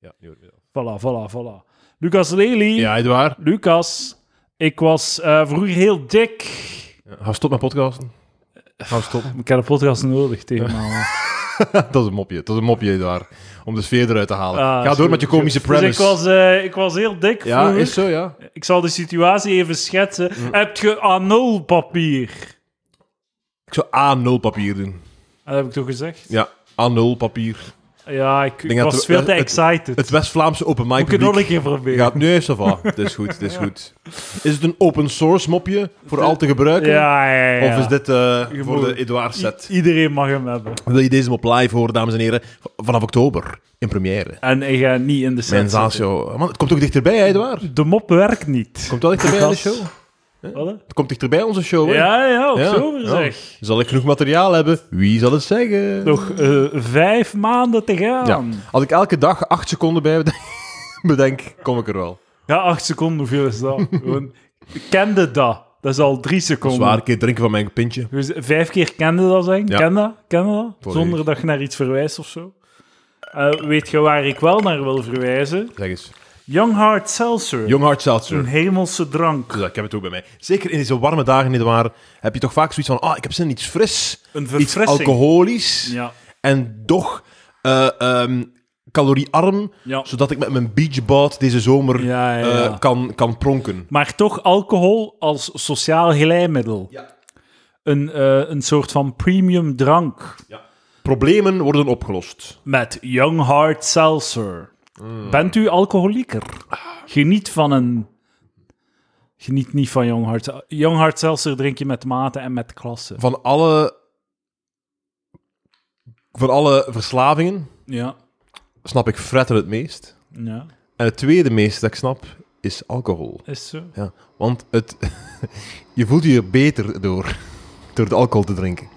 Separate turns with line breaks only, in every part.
Ja, nu hoor ik mezelf.
Voilà, voilà, voilà. Lucas Lely.
Ja, Edouard.
Lucas, ik was eh, vroeger heel dik.
Ja, Ga stop met podcasten. Ga stop.
Ik heb een podcast nodig tegenaan.
dat is een mopje. Dat is een mopje, Edouard. Om de sfeer eruit te halen.
Ah,
Ga
zo.
door met je komische
Dus
premise.
ik was, eh, ik was heel dik
ja,
vroeger.
is zo, Mm. ja.
Ik zal de situatie even schetsen. Heb je A0 papier?
Ik zou A0 papier doen.
Dat heb ik toch gezegd?
Ja, A0 papier.
Ja, ik, ik
denk dat
was
we-
veel te
het-
excited.
Het West-Vlaamse open mic
Moet ik het nog
publiek
een keer proberen?
gaat nu ça va. Het is goed, het is goed. Is het een open source mopje voor al te gebruiken?
Ja, ja, ja.
Of is dit eh,
Je
voor
moet-
de Edouard set?
I- iedereen mag hem hebben.
Wil je deze mop live horen, dames en heren? V- Vanaf oktober, in première.
En ik ga niet in de set zitten.
Sensatio. Man, het komt ook dichterbij, hè, Edouard? Het
De mop werkt niet.
komt wel dichterbij aan de
Gast.
show.
Wat?
Het komt dichterbij onze show, hè?
Ja, ja, op
Ja,
zomer
ja.
zeg.
Zal ik genoeg materiaal hebben? Wie zal het zeggen?
Nog eh, vijf maanden te gaan.
Ja. Als ik elke dag acht seconden bij beden- bedenk, kom ik er wel.
Ja, acht seconden, hoeveel is dat? Gewoon, kende dat. Dat is al drie seconden.
Zwaar een keer drinken van mijn pintje.
Dus vijf keer kende dat zeggen.
Ja.
Ken dat? Ken dat?
Volledig.
Zonder dat je naar iets verwijst of zo. Eh, weet je waar ik wel naar wil verwijzen?
Zeg eens.
Young Heart Seltzer.
Young Heart Seltzer.
Een hemelse drank.
Dus ik heb het ook bij mij. Zeker in deze warme dagen, nietwaar, heb je toch vaak zoiets van, ah, ik heb zin in iets fris,
Een
iets
verfrissing.
alcoholisch,
Ja.
en toch eh, ehm, caloriearm,
Ja.
zodat ik met mijn beachbad deze zomer
Ja, ja, ja.
eh, kan, kan pronken.
Maar toch alcohol als sociaal geleimiddel.
Ja.
Een, eh, een soort van premium drank.
Problemen worden opgelost.
Met Young Heart Seltzer.
Mm.
Bent u alcoholieker? Geniet van een... Geniet niet van Young Heart Seltzer. Young Heart Seltzer drink je met mate en met klasse.
Van alle, van alle verslavingen
Ja.
snap ik fretten het meest.
Ja,
En het tweede meest dat ik snap, is alcohol.
is zo.
Ja, want het, je voelt je er beter door, door de alcohol te drinken.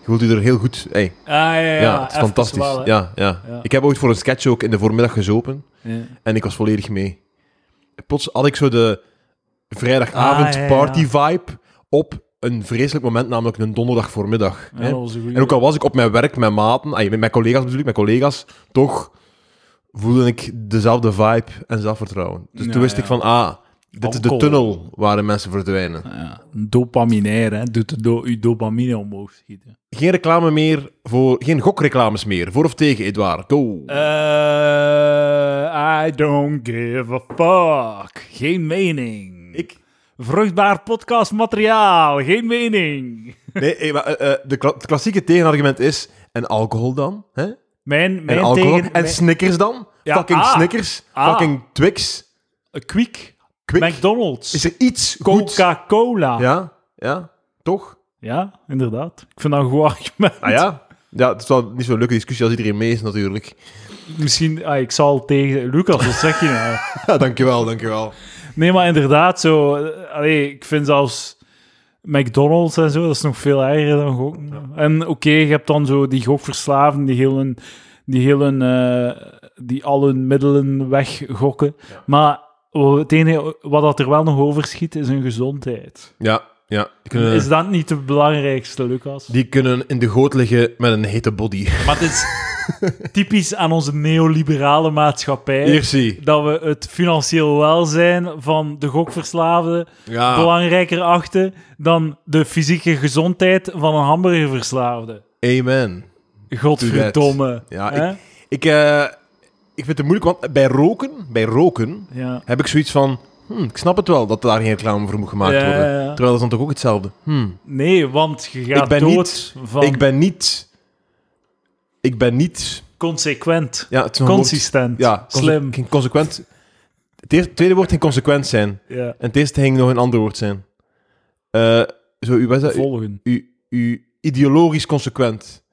Je voelt je er heel goed... Hey,
Ah, ja, ja,
ja, het is
even
fantastisch.
wel, hè.
ja, ja.
Ja.
Ik heb ooit voor een sketch ook in de voormiddag gezopen
Ja.
en ik was volledig mee. Plots had ik zo de vrijdagavond
Ah, ja, ja.
party vibe op een vreselijk moment, namelijk een donderdag voormiddag.
Ja,
hè.
dat was een goeie.
En ook al was ik op mijn werk, mijn maten, ay, met mijn collega's bedoel ik, mijn collega's, toch voelde ik dezelfde vibe en zelfvertrouwen. Dus
Ja,
toen wist
ja.
ik van, ah, dit is de
Alcohol.
tunnel waarin mensen verdwijnen.
Ja, een dopaminair, hè. Doet de do- uw dopamine omhoog schieten.
Geen reclame meer voor, geen gokreclames meer, voor of tegen, Edouard. Go!
Eh, I don't give a fuck. Geen mening.
Ik-
Vruchtbaar podcastmateriaal. Geen mening.
Nee, eh, maar, eh, eh, de kla- het klassieke tegenargument is, en alcohol dan? Hè? En
Mijn, mijn
alcohol?
tegen...
en
mijn-
Snickers dan?
Ja,
fucking
ah.
Snickers,
Ah.
fucking Twix,
Eh, Quick,
Quick.
McDonald's,
Is er iets goeds?
Coca-Cola. Ja.
Ja, ja, toch?
inderdaad. Ik vind dat een goed argument.
Ah ja? Ja, het is wel niet zo'n leuke discussie als iedereen mee is, natuurlijk.
Misschien, ah, ik zal tegen... Lucas, wat zeg je nou?
Ja, dankjewel, dankjewel.
Nee, maar inderdaad, zo. eh, Allee, ik vind zelfs McDonald's en zo, dat is nog veel erger dan gokken. En oké, je hebt dan zo die gokverslaven, die heel hun, die, heel hun, eh, die al hun middelen weggokken. Maar oh, het enige wat dat er wel nog overschiet, is hun gezondheid.
Ja, ja. Die kunnen,
Is dat niet het belangrijkste, Lucas?
die kunnen in de goot liggen met een hete body.
Maar het is typisch aan onze neoliberale maatschappij.
Hier zie.
Dat we het financieel welzijn van de gokverslaafden
Ja,
belangrijker achten dan de fysieke gezondheid van een hamburgerverslaafde.
amen.
Godverdomme.
Ja,
Hè?
Ik, eh, ik vind het moeilijk, want bij roken, bij roken
ja.
heb ik zoiets van... hm, ik snap het wel dat daar geen reclame voor moet gemaakt
Ja,
worden.
ja, ja.
Terwijl dat is dan toch ook hetzelfde. Hm.
Nee, want je gaat
Ik ben
dood
niet-
van
Ik ben niet... Ik ben niet...
consequent,
Ja, het is een woord-
consistent,
Ja, conse-
slim.
geen consequent. Het eerste- tweede woord ging consequent zijn.
Ja.
En het eerste ging nog een ander woord zijn. Eh, zo, u, was dat, u,
Volgen.
u, u- ideologisch consequent.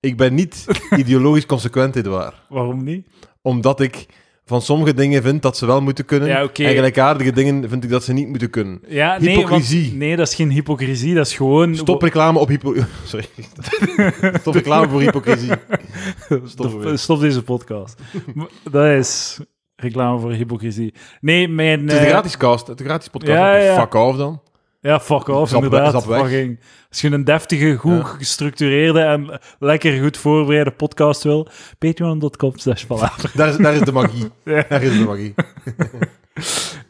Ik ben niet ideologisch consequent, Edouard.
Waarom niet?
Omdat ik van sommige dingen vind dat ze wel moeten kunnen.
Ja, oké.
En gelijkaardige dingen vind ik dat ze niet moeten kunnen.
Ja, nee, want-
Hypocrisie.
nee, dat is geen hypocrisie, dat is gewoon...
Stop reclame op hypocrisie. Sorry. Stop reclame voor hypocrisie. Stop
De-
weer.
stop deze podcast. M- dat is reclame voor hypocrisie. Nee, mijn...
Het is een
eh,
gratis cast. Het is een gratis podcast.
Ja, ja, ja.
Fuck off dan.
Ja, fuck off,
Zap weg,
inderdaad.
zap weg.
Fucking- als je een deftige, goed
Ja.
gestructureerde en lekker goed voorbereide podcast wil, patreon.com slash palaver.
Daar is, daar is de magie.
Ja.
Daar is de magie.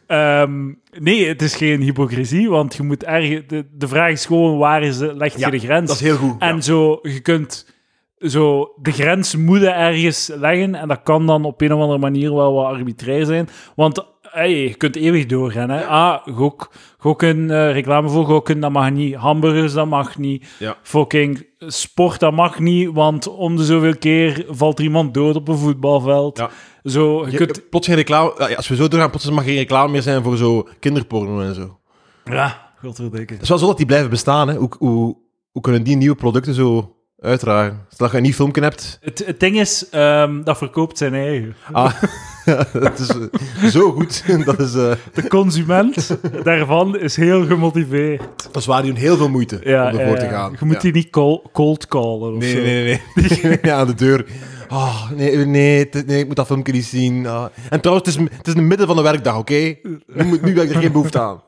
Ehm, nee, het is geen hypocrisie, want je moet erg... De, de vraag is gewoon, waar is de, leg je
Ja,
de grens?
Dat is heel goed.
En
ja.
zo, je kunt zo de grens moet je ergens leggen. En dat kan dan op een of andere manier wel wat arbitrair zijn. Want hey, je kunt eeuwig doorgaan. Hè? Ah, gok, gokken, eh, reclame voor gokken, dat mag niet. Hamburgers, dat mag niet.
Ja.
Fucking sport, dat mag niet. Want om de zoveel keer valt er iemand dood op een voetbalveld.
Ja.
Zo, je
Je-
kunt...
Plots geen reclame... ja, Als we zo doorgaan, plots mag geen reclame meer zijn voor zo kinderporno en zo.
Ja, godverdikke.
Het is wel zo dat die blijven bestaan. Hè. Hoe, hoe, hoe kunnen die nieuwe producten zo uitdragen? Stel dat je een nieuw filmpje hebt.
Het, het ding is, ehm, dat verkoopt zijn eigen.
Ah, dat is eh, zo goed. Dat is, eh,
De consument daarvan is heel gemotiveerd.
dat is waar die doen heel veel moeite
Ja,
om ervoor
ja,
te
ja.
gaan.
Je moet
Ja.
die niet col- cold callen of
Nee,
zo.
nee, nee. nee. ja, aan de deur. Ah, nee, nee, t- nee, ik moet dat filmpje niet zien. Ah. En trouwens, het is, m- het is in het midden van de werkdag, oké? Nu, moet- nu heb ik er geen behoefte aan.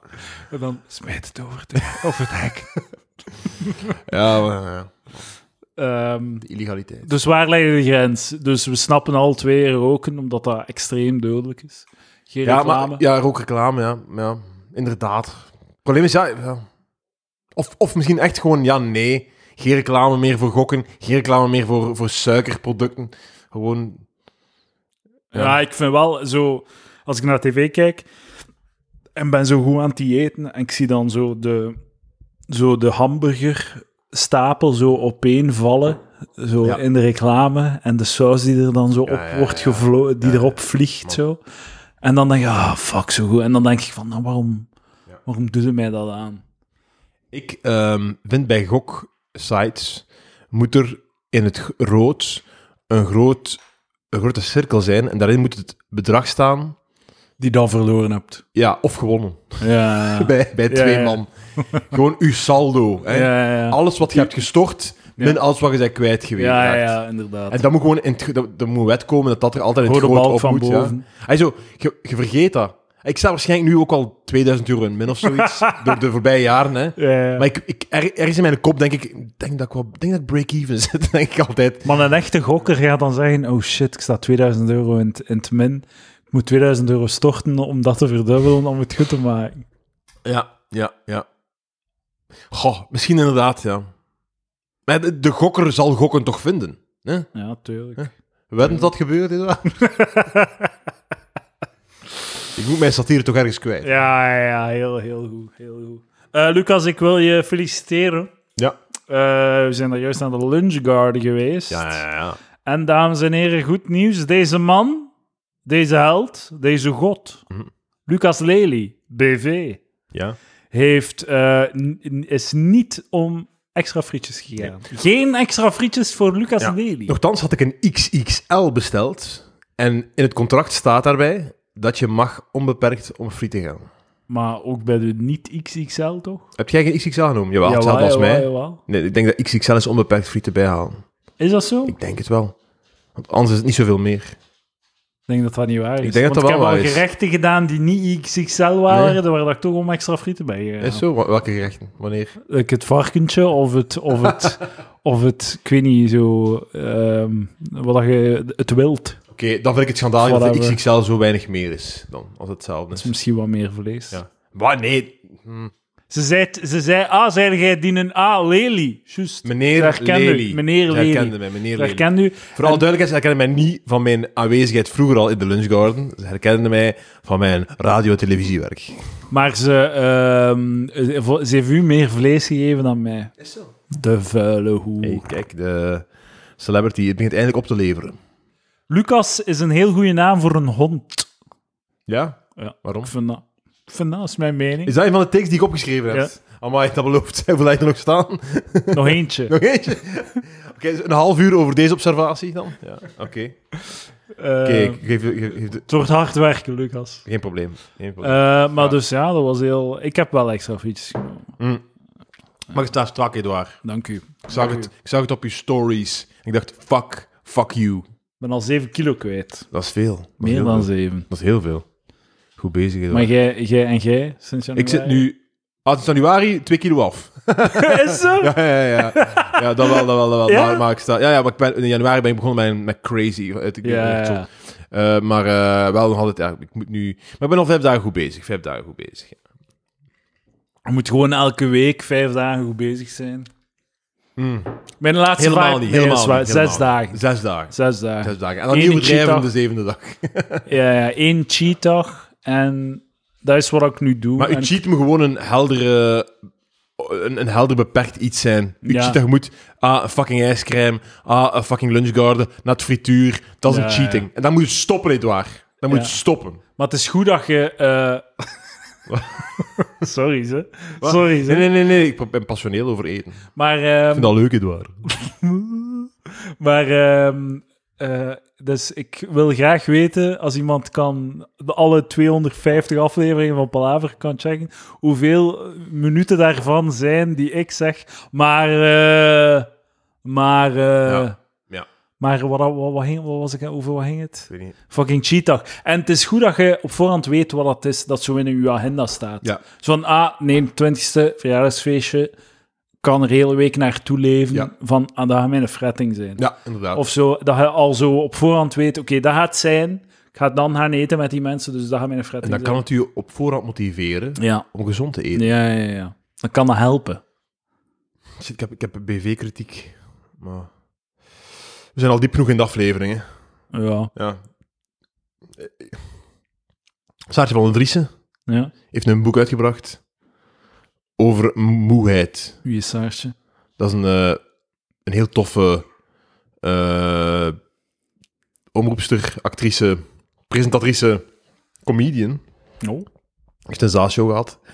En dan smijt het over het, over het hek.
Ja, maar, ja,
Ehm,
de illegaliteit.
dus waar leg je de grens? Dus we snappen al twee roken, omdat dat extreem dodelijk is. Geen
Ja,
reclame.
maar, ja, ook reclame, ja. ja. Inderdaad. Het probleem is, ja... ja. Of, of misschien echt gewoon, ja, nee. Geen reclame meer voor gokken. Geen reclame meer voor, voor suikerproducten. Gewoon...
Ja. ik vind wel zo... Als ik naar tv kijk en ben zo goed aan het diëten en ik zie dan zo de, zo de hamburgerstapel zo opeen vallen, zo
Ja.
in de reclame en de saus die er dan zo op
ja,
wordt
ja.
gevlo- die
Ja, ja.
erop vliegt zo. En dan denk ik, ah, fuck, zo goed. En dan denk ik van, nou, waarom,
Ja.
waarom doet ze mij dat aan?
Ik ehm, vind bij goksites moet er in het g- rood een, groot, een grote cirkel zijn en daarin moet het bedrag staan.
Die dan verloren hebt.
Ja, of gewonnen.
Ja,
Bij, bij
Ja,
twee
ja.
man. Gewoon uw saldo. Hè?
ja, ja.
Alles wat je hebt gestort, min alles wat je bent kwijt geweest.
Ja, ja, ja, inderdaad.
En dat moet gewoon in het, gro- dat, dat moet wet komen dat dat er altijd in het
Rode
groot
balk
op
van
moet.
boven.
Ja. Hij zo, je, je vergeet dat. Ik sta waarschijnlijk nu ook al 2000 euro in min of zoiets door de voorbije jaren. Hè.
Ja, ja.
Maar ik, ik, er, ergens in mijn kop denk ik, ik denk dat ik, wel, ik denk dat ik break-even zit, denk ik altijd.
Maar een echte gokker gaat dan zeggen: Oh shit, ik sta 2000 euro in het, in het min. Ik moet 2000 euro storten om dat te verdubbelen, om het goed te maken.
Ja, ja, ja. Goh, misschien inderdaad, ja. Maar de, de gokker zal gokken toch vinden. Hè?
Ja, tuurlijk.
Weet dat dat gebeurt, inderdaad. ik moet mijn satire toch ergens kwijt.
Ja, ja, ja, heel, heel goed. Heel goed. Eh, Lucas, ik wil je feliciteren.
Ja.
Eh, we zijn er juist aan de Lunch Garden geweest.
Ja, ja, ja.
En dames en heren, goed nieuws. Deze man, deze held, deze god,
Mhm.
Lucas Lely, BV,
ja.
heeft, eh, n- n- is niet om extra frietjes gegaan. Geen extra frietjes voor Lucas
Ja.
Lely.
Nochtans had ik een XXL besteld. En in het contract staat daarbij dat je mag onbeperkt om friet te gaan.
Maar ook bij de niet-XXL, toch?
Heb jij geen XXL genomen? Jawel,
Jawel,
hetzelfde als
jawel,
mij.
jawel.
Nee, ik denk dat XXL is onbeperkt friet te bijhalen.
Is dat zo? Ik
Ik denk het wel. Want anders is het niet zoveel meer.
denk dat dat niet waar
denk
is.
dat
Want
dat wel
ik heb
waar
al
is.
gerechten gedaan die niet XXL waren, daar waar ik toch om extra frieten bij gegaan.
Is zo? Wa- Welke gerechten? Wanneer?
Like het varkentje of het, of het, of het, ik weet niet, zo, ehm, wat dat je, het wild.
Oké, dan vind ik het schandalig dat de
Whatever.
XXL zo weinig meer is dan als hetzelfde
is
is.
misschien wat meer vlees.
Ja. Maar nee, hm,
Ze zei, ze zei, ah, zei jij die een A, Lely. Juist. Ze
meneer
herkende u,
Lely.
meneer
Ze
Lely.
herkende mij, meneer
Ik
Lely.
herken nu.
Vooral duidelijkheid, ze herkenden mij niet van mijn aanwezigheid vroeger al in de lunchgarden. Ze herkenden mij van mijn radio- en televisiewerk.
Maar ze, ehm, vo- ze heeft u meer vlees gegeven dan mij.
Is zo.
De vuile hoer.
Hey, kijk, de celebrity, het begint eindelijk op te leveren.
Lucas is een heel goede naam voor een hond.
Ja?
Ja.
Waarom?
Ik vind dat, ik vind dat is mijn mening.
Is dat een van de tekst die ik opgeschreven heb? Amai, dat belooft. Hoeveel lijkt er nog staan?
Nog eentje.
Nog eentje? Oké, dus een half uur over deze observatie dan? Ja, oké.
Eh,
Oké, ik geef, geef- geef de-
het wordt hard werken, Lucas.
geen probleem. Geen probleem.
Eh, maar
Ja.
dus ja, dat was heel... Ik heb wel extra fiets genomen.
maar het staat strak, Edouard.
Dank u.
Ik zag, het, ik zag het op je stories. Ik dacht, fuck, fuck you.
Ik ben al 7 kilo kwijt.
Dat is veel. Dat is
Meer
heel
dan
veel.
7.
Dat is heel veel. Goed bezig, Edouard.
Maar jij, jij en jij, sinds
Ik
januari?
zit nu Ah, het is januari, twee kilo af.
Is zo?
Ja, ja, ja. Ja, dat wel, dat wel, dat wel.
Ja?
Maar, maar ik sta... Ja, ja, maar ik ben, in januari ben ik begonnen met, een- met Crazy. Het, ik,
Ja, ja.
Eh, maar eh, wel nog altijd... Ja, ik moet nu... Maar ik ben al vijf dagen goed bezig. Vijf dagen goed bezig.
Je moet gewoon elke week vijf dagen goed bezig zijn. Mijn laatste
Hmm. Helemaal
vaak-
niet,
nee,
helemaal
dat is waar.
niet,
Zes
helemaal
dagen.
Zes dagen.
Zes dagen.
Zes dagen. En dan
Eén
nieuw bedrijf
cheetah.
op de zevende dag.
Ja, ja, één cheat-dag. En dat is wat ik nu doe.
Maar
En-
uw cheat moet gewoon een heldere... Een, een helder beperkt iets zijn. Uw
Ja.
cheat moet... Ah, een fucking ijscrème. Ah, een fucking lunchgarden. Na het frituur. Dat is
Ja,
een cheating. En dan moet het stoppen, Edouard. Dan moet
Ja.
het stoppen.
Maar het is goed dat je... eh, Sorry, ze. Sorry, ze.
Nee, nee, nee, nee. Ik ben passioneel over eten. Ik
Maar, ehm,
vind dat leuk, Edouard.
maar ehm, eh, dus ik wil graag weten, als iemand kan de alle 250 afleveringen van Palaver kan checken, hoeveel minuten daarvan zijn die ik zeg, maar... eh, maar... eh,
Ja, ja.
Maar wat, wat, wat, ging, wat was ik, over wat ging het?
Ik weet niet.
Fucking cheetah. En het is goed dat je op voorhand weet wat dat is, dat zo in je agenda staat.
Ja.
Zo van, ah, nee, 20e verjaardagsfeestje, kan er hele week naartoe leven,
Ja.
van, ah, dat gaat mijn fretting zijn.
Ja, inderdaad.
Of zo, dat je al zo op voorhand weet, oké, dat gaat het zijn, ik ga dan gaan eten met die mensen, dus dat gaat mijn
en
fretting
dan kan het u op voorhand motiveren
zijn. Ja.
om gezond te eten.
Ja, ja, ja. Dan kan dat helpen.
Shit, ik heb, ik heb BV-kritiek. Maar... We zijn al diep genoeg in de afleveringen.
Ja.
Ja. Eh, Saartje van den Driessen
ja.
heeft een boek uitgebracht over moeheid.
Wie is Saartje?
Dat is een, eh, een heel toffe eh, omroepster, actrice, presentatrice, comedian.
Oh.
heeft een zaalshow gehad. En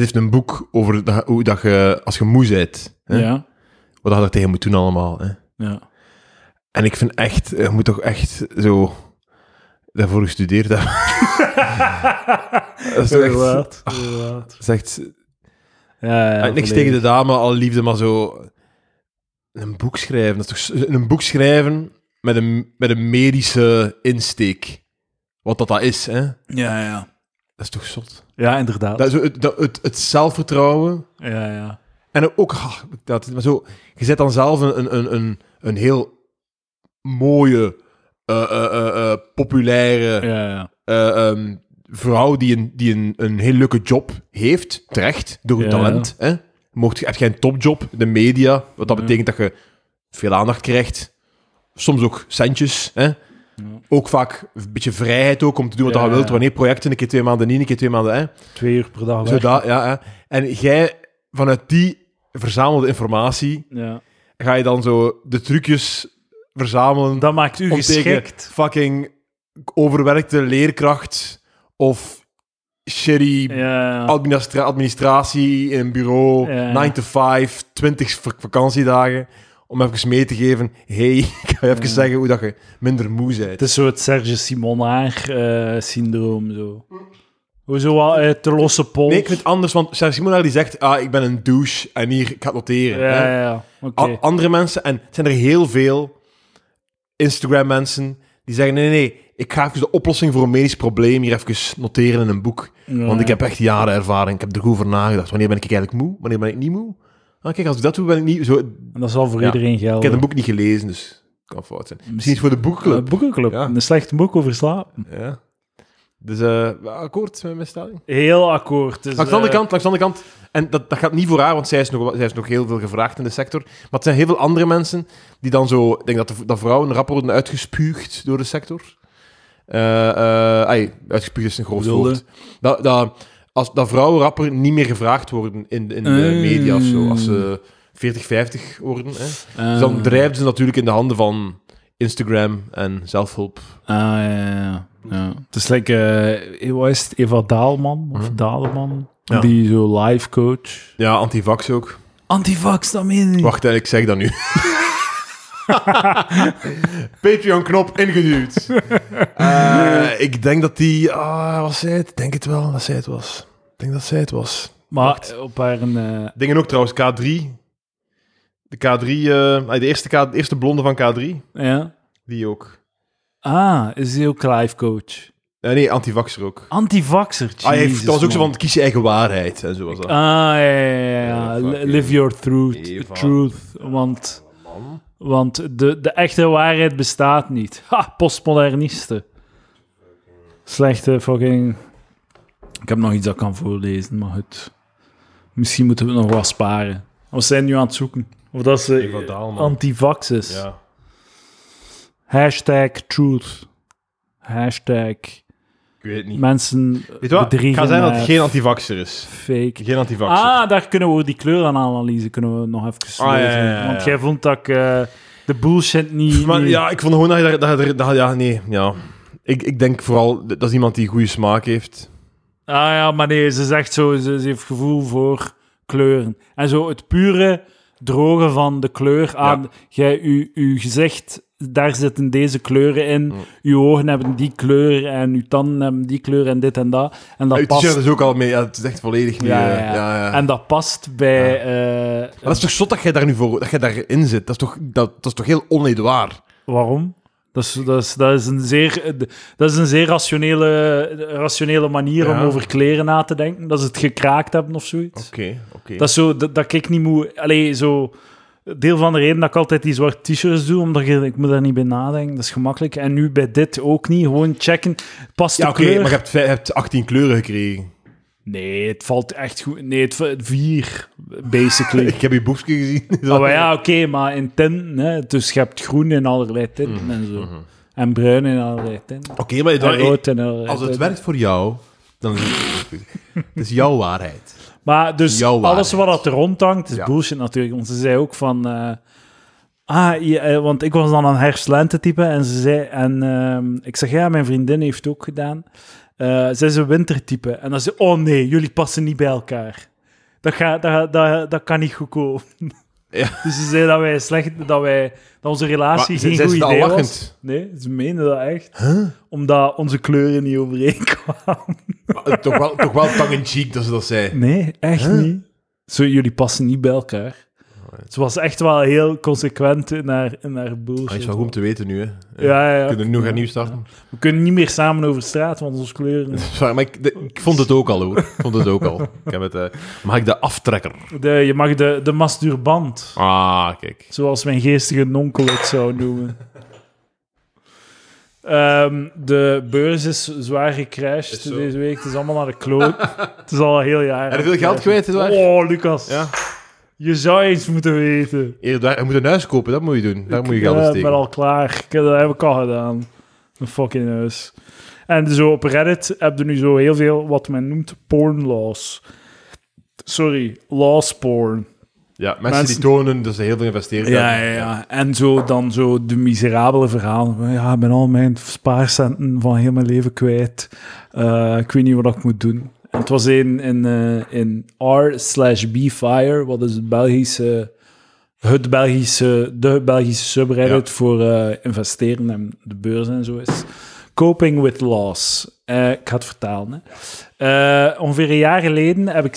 het heeft een boek over dat- hoe dat je, als je moe bent, hè,
Ja.
wat dat je tegen moet doen allemaal. Hè.
Ja.
En ik vind echt, je moet toch echt zo daarvoor gestudeerd hebben. dat is toch echt,
Inderdaad. Inderdaad.
dat is echt
Ja, ja,
eh, niks tegen de dame, al liefde, maar zo een boek schrijven. Dat is toch, een boek schrijven met een, met een medische insteek. Wat dat, dat is, hè?
Ja, ja.
Dat is toch zot.
Ja, inderdaad.
Dat, is zo het, dat- het, het zelfvertrouwen
Ja, ja.
En ook, ah, dat, maar zo, je zet dan zelf een, een- een, een, een heel mooie, eh, eh, eh, eh, populaire
Ja, ja.
eh, ehm, vrouw die, een, die een, een heel leuke job heeft, terecht, door
Ja.
hun talent. Hè? Mocht, je- heb jij een topjob, de media, wat dat
Ja.
betekent dat je veel aandacht krijgt, soms ook centjes. Hè? Ook vaak een beetje vrijheid ook, om te doen wat
Ja.
je wilt, wanneer projecten, een keer twee maanden niet, een keer twee maanden... Hè?
Twee uur per dag.
Zo dat, ja, hè. En jij, vanuit die verzamelde informatie,
Ja.
ga je dan zo de trucjes verzamelen
Dat maakt u
om tegen
geschikt.
fucking overwerkte leerkracht of shitty
Ja,
administra- administratie in een bureau,
Ja.
9 to 5, 20 vak- vakantiedagen, om even mee te geven, hey, ik ga je even
Ja.
zeggen hoe dat je minder moe bent.
het is zo het Serge Simonaar-syndroom. zo. Hoezo wel uit de losse pols?
Nee, ik vind het anders, want Serge Simonaar die zegt, ah, ik ben een douche en hier, ik ga het noteren. hè.
Ja, ja, ja. Oké.
A- andere mensen, en het zijn er heel veel Instagram-mensen die zeggen: nee, nee, nee, ik ga even de oplossing voor een medisch probleem hier even noteren in een boek.
Ja,
Want ik
ja.
heb echt jaren ervaring, ik heb er goed over nagedacht. Wanneer ben ik eigenlijk moe? Wanneer ben ik niet moe? Ah, kijk, als ik dat doe, ben ik niet. Zo, ik
En dat zal voor
Ja.
iedereen gelden.
heb een boek niet gelezen, dus het kan fout zijn. Misschien iets voor de
Een
boekclub.
boekenclub.
Ja.
Een slecht boek over slapen.
Ja. Dus eh, akkoord met mijn stelling.
Heel akkoord. Dus,
Langs de andere
eh,
kant, langs de andere kant. En dat, dat gaat niet voor haar, want zij is, nog, wel- zij is nog heel veel gevraagd in de sector. Maar het zijn heel veel andere mensen die dan zo... Ik denk dat, de, dat vrouwen rapper worden uitgespuugd door de sector. Eh, eh, ai, uitgespuugd is een groot
Bedoelde?
woord. Dat, dat, als, dat vrouwen rapper niet meer gevraagd worden in, in de
Mm.
media of zo. Als ze 40, 50 worden. Hè. Dus
eh,
dan drijven ze natuurlijk in de handen van Instagram en zelfhulp.
Ah, ja, ja, ja. ja. Het is like, eh, wat is het? Eva Daalman? Of
Mhm.
Daleman?
Ja.
Die zo live coach.
Ja, antivax ook.
Antivax, dat meen je niet.
Wacht, hè, ik zeg dat nu. Patreon-knop ingeduwd. Eh, ik denk dat die... Ah, was zij het? Ik denk het wel dat zij het was. Ik denk dat zij het was.
Maar op haar een... eh,
Dingen ook trouwens, K3. De K3... eh, ah, de, eerste K, de eerste blonde van K3.
ja.
Die ook.
Ah, is die ook live coach?
Ja, Eh, nee, antivaxer ook.
Antivaxer,
Ah, hij heeft,
Jesus,
dat was ook zo
man.
van kies je eigen waarheid en zo was dat.
Ah, ja, ja, ja.
Eh,
ja.
fucking
Live your truth.
Eva.
truth. Want, want de, de echte waarheid bestaat niet. Ha, postmodernisten. Slechte fucking... Ik heb nog iets dat ik kan voorlezen, maar goed. Misschien moeten we het nog wat sparen. We zijn nu aan het zoeken. Of dat
Eva
ze
Daalman.
antivax is.
Ja.
Hashtag truth. Hashtag
Ik weet het niet.
mensen
Weet je wat? Het
bedriegen
kan zijn dat het
met
geen antivaxer is.
fake
Geen antivaxer.
Ah, daar kunnen we die kleurenanalyse kunnen we nog even
Ah, ja,
lezen.
ja, ja, ja.
Want jij vond dat ik eh, de bullshit niet...
Maar
niet-
ja, ik vond gewoon dat je daar... Dat, je daar- dat- ja, nee, ja. Ik, ik denk vooral, dat is iemand die goede smaak heeft.
Ah ja, maar nee, ze zegt zo, ze, ze heeft gevoel voor kleuren. En zo het pure drogen van de kleur aan... Jij, u, uw gezicht, daar zitten deze kleuren in.
Mm.
Uw ogen hebben die kleur en uw tanden hebben die kleur en dit en dat. En dat
Uw
past...
t-shirt is ook al mee, ja, het is echt volledig niet...
Ja,
eh,
ja, ja.
ja.
En dat past bij... eh,
Maar dat is toch zot dat jij daar nu voor... Dat jij daarin zit. Dat is toch, dat, dat is toch heel onedwaar?
Waarom? Dat is, dat, is, dat, is een zeer, dat is een zeer rationele, rationele manier
Ja.
om over kleren na te denken. Dat is het gekraakt hebben of zoiets.
Oké, oké.
Dat is zo, dat, dat ik niet moet... Allee, zo... Deel van de reden dat ik altijd die zwarte t-shirts doe, omdat ik, ik moet daar niet bij nadenken. Dat is gemakkelijk. En nu bij dit ook niet. Gewoon checken. Past
Ja,
de
oké,
kleur?
maar je hebt, vij- je hebt 18 kleuren gekregen.
Nee, het valt echt goed. Nee, het va- vier, basically.
Ik heb je boekje gezien.
Ah, maar ja, oké, maar in tinten. Hè. Dus je hebt groen in allerlei tinten
Mhm,
en zo. En bruin in allerlei tinten.
Oké, maar je-
En
dan-
rood en allerlei
als het
tinten.
werkt voor jou, dan is het goed. Het is jouw waarheid.
Maar dus
Jouw
alles wat
waarheid.
dat er rondhangt, is
Ja.
bullshit natuurlijk. Want ze zei ook van... eh, ah, je- eh, want ik was dan aan herfstlente type. En ze zei... En ehm, ik zeg, ja, mijn vriendin heeft ook gedaan. Eh, zij is een wintertype. En dan zei ze, oh nee, jullie passen niet bij elkaar. Dat, ga, dat, dat, dat kan niet goed komen.
Ja.
Dus ze zei dat wij slecht... Dat, wij, dat onze relatie
Maar ze-
geen
zei
goed
ze dat
idee was.
lachend?
Nee, ze meende dat echt. Omdat onze kleuren niet overeenkwamen.
Maar, eh, toch wel, toch wel tang in cheek dat ze dat zei.
Nee, echt
Huh?
niet. Zo, jullie passen niet bij elkaar. Ze was echt wel heel consequent in haar, in haar bullshit.
Ah, is wel goed om te weten nu, hè. Eh,
ja, ja, ja.
We kunnen nog nieuw starten.
We kunnen niet meer samen over straat, want onze kleuren...
Sorry, maar ik, de- ik vond het ook al, hoor. Ik vond het ook al. Ik heb het, eh, maar ik de aftrekker.
De, je mag de, de masturbant,
Ah, kijk.
zoals mijn geestige nonkel het zou noemen. Ehm, de beurs is zwaar gecrashed
Is zo.
deze week. Het is allemaal naar de kloot. het is al een heel jaar.
Heb je veel geld kwijt, is waar?
Oh, Lucas.
Ja.
Je zou eens moeten weten.
Eerder, daar- je moet een huis kopen, dat moet je doen. Daar moet je
Ik,
geld in
eh,
steken.
ben al klaar. Ik, dat heb ik al gedaan. Een fucking huis. En zo op Reddit heb je nu zo heel veel wat men noemt porn laws. Sorry, laws porn.
Ja, mensen,
mensen-
die tonen dat ze heel veel investeren.
En zo dan zo de miserabele verhalen. Van, Ja, ik ben al mijn spaarcenten van heel mijn leven kwijt. Eh, ik weet niet wat ik moet doen. En het was in, in, eh, in R slash B Fire, wat is het Belgische, het Belgische, de Belgische subreddit voor eh, investeren en de beurs en zo is. Coping with loss. Eh, ik ga het vertalen. Hè. Eh, ongeveer een jaar geleden heb ik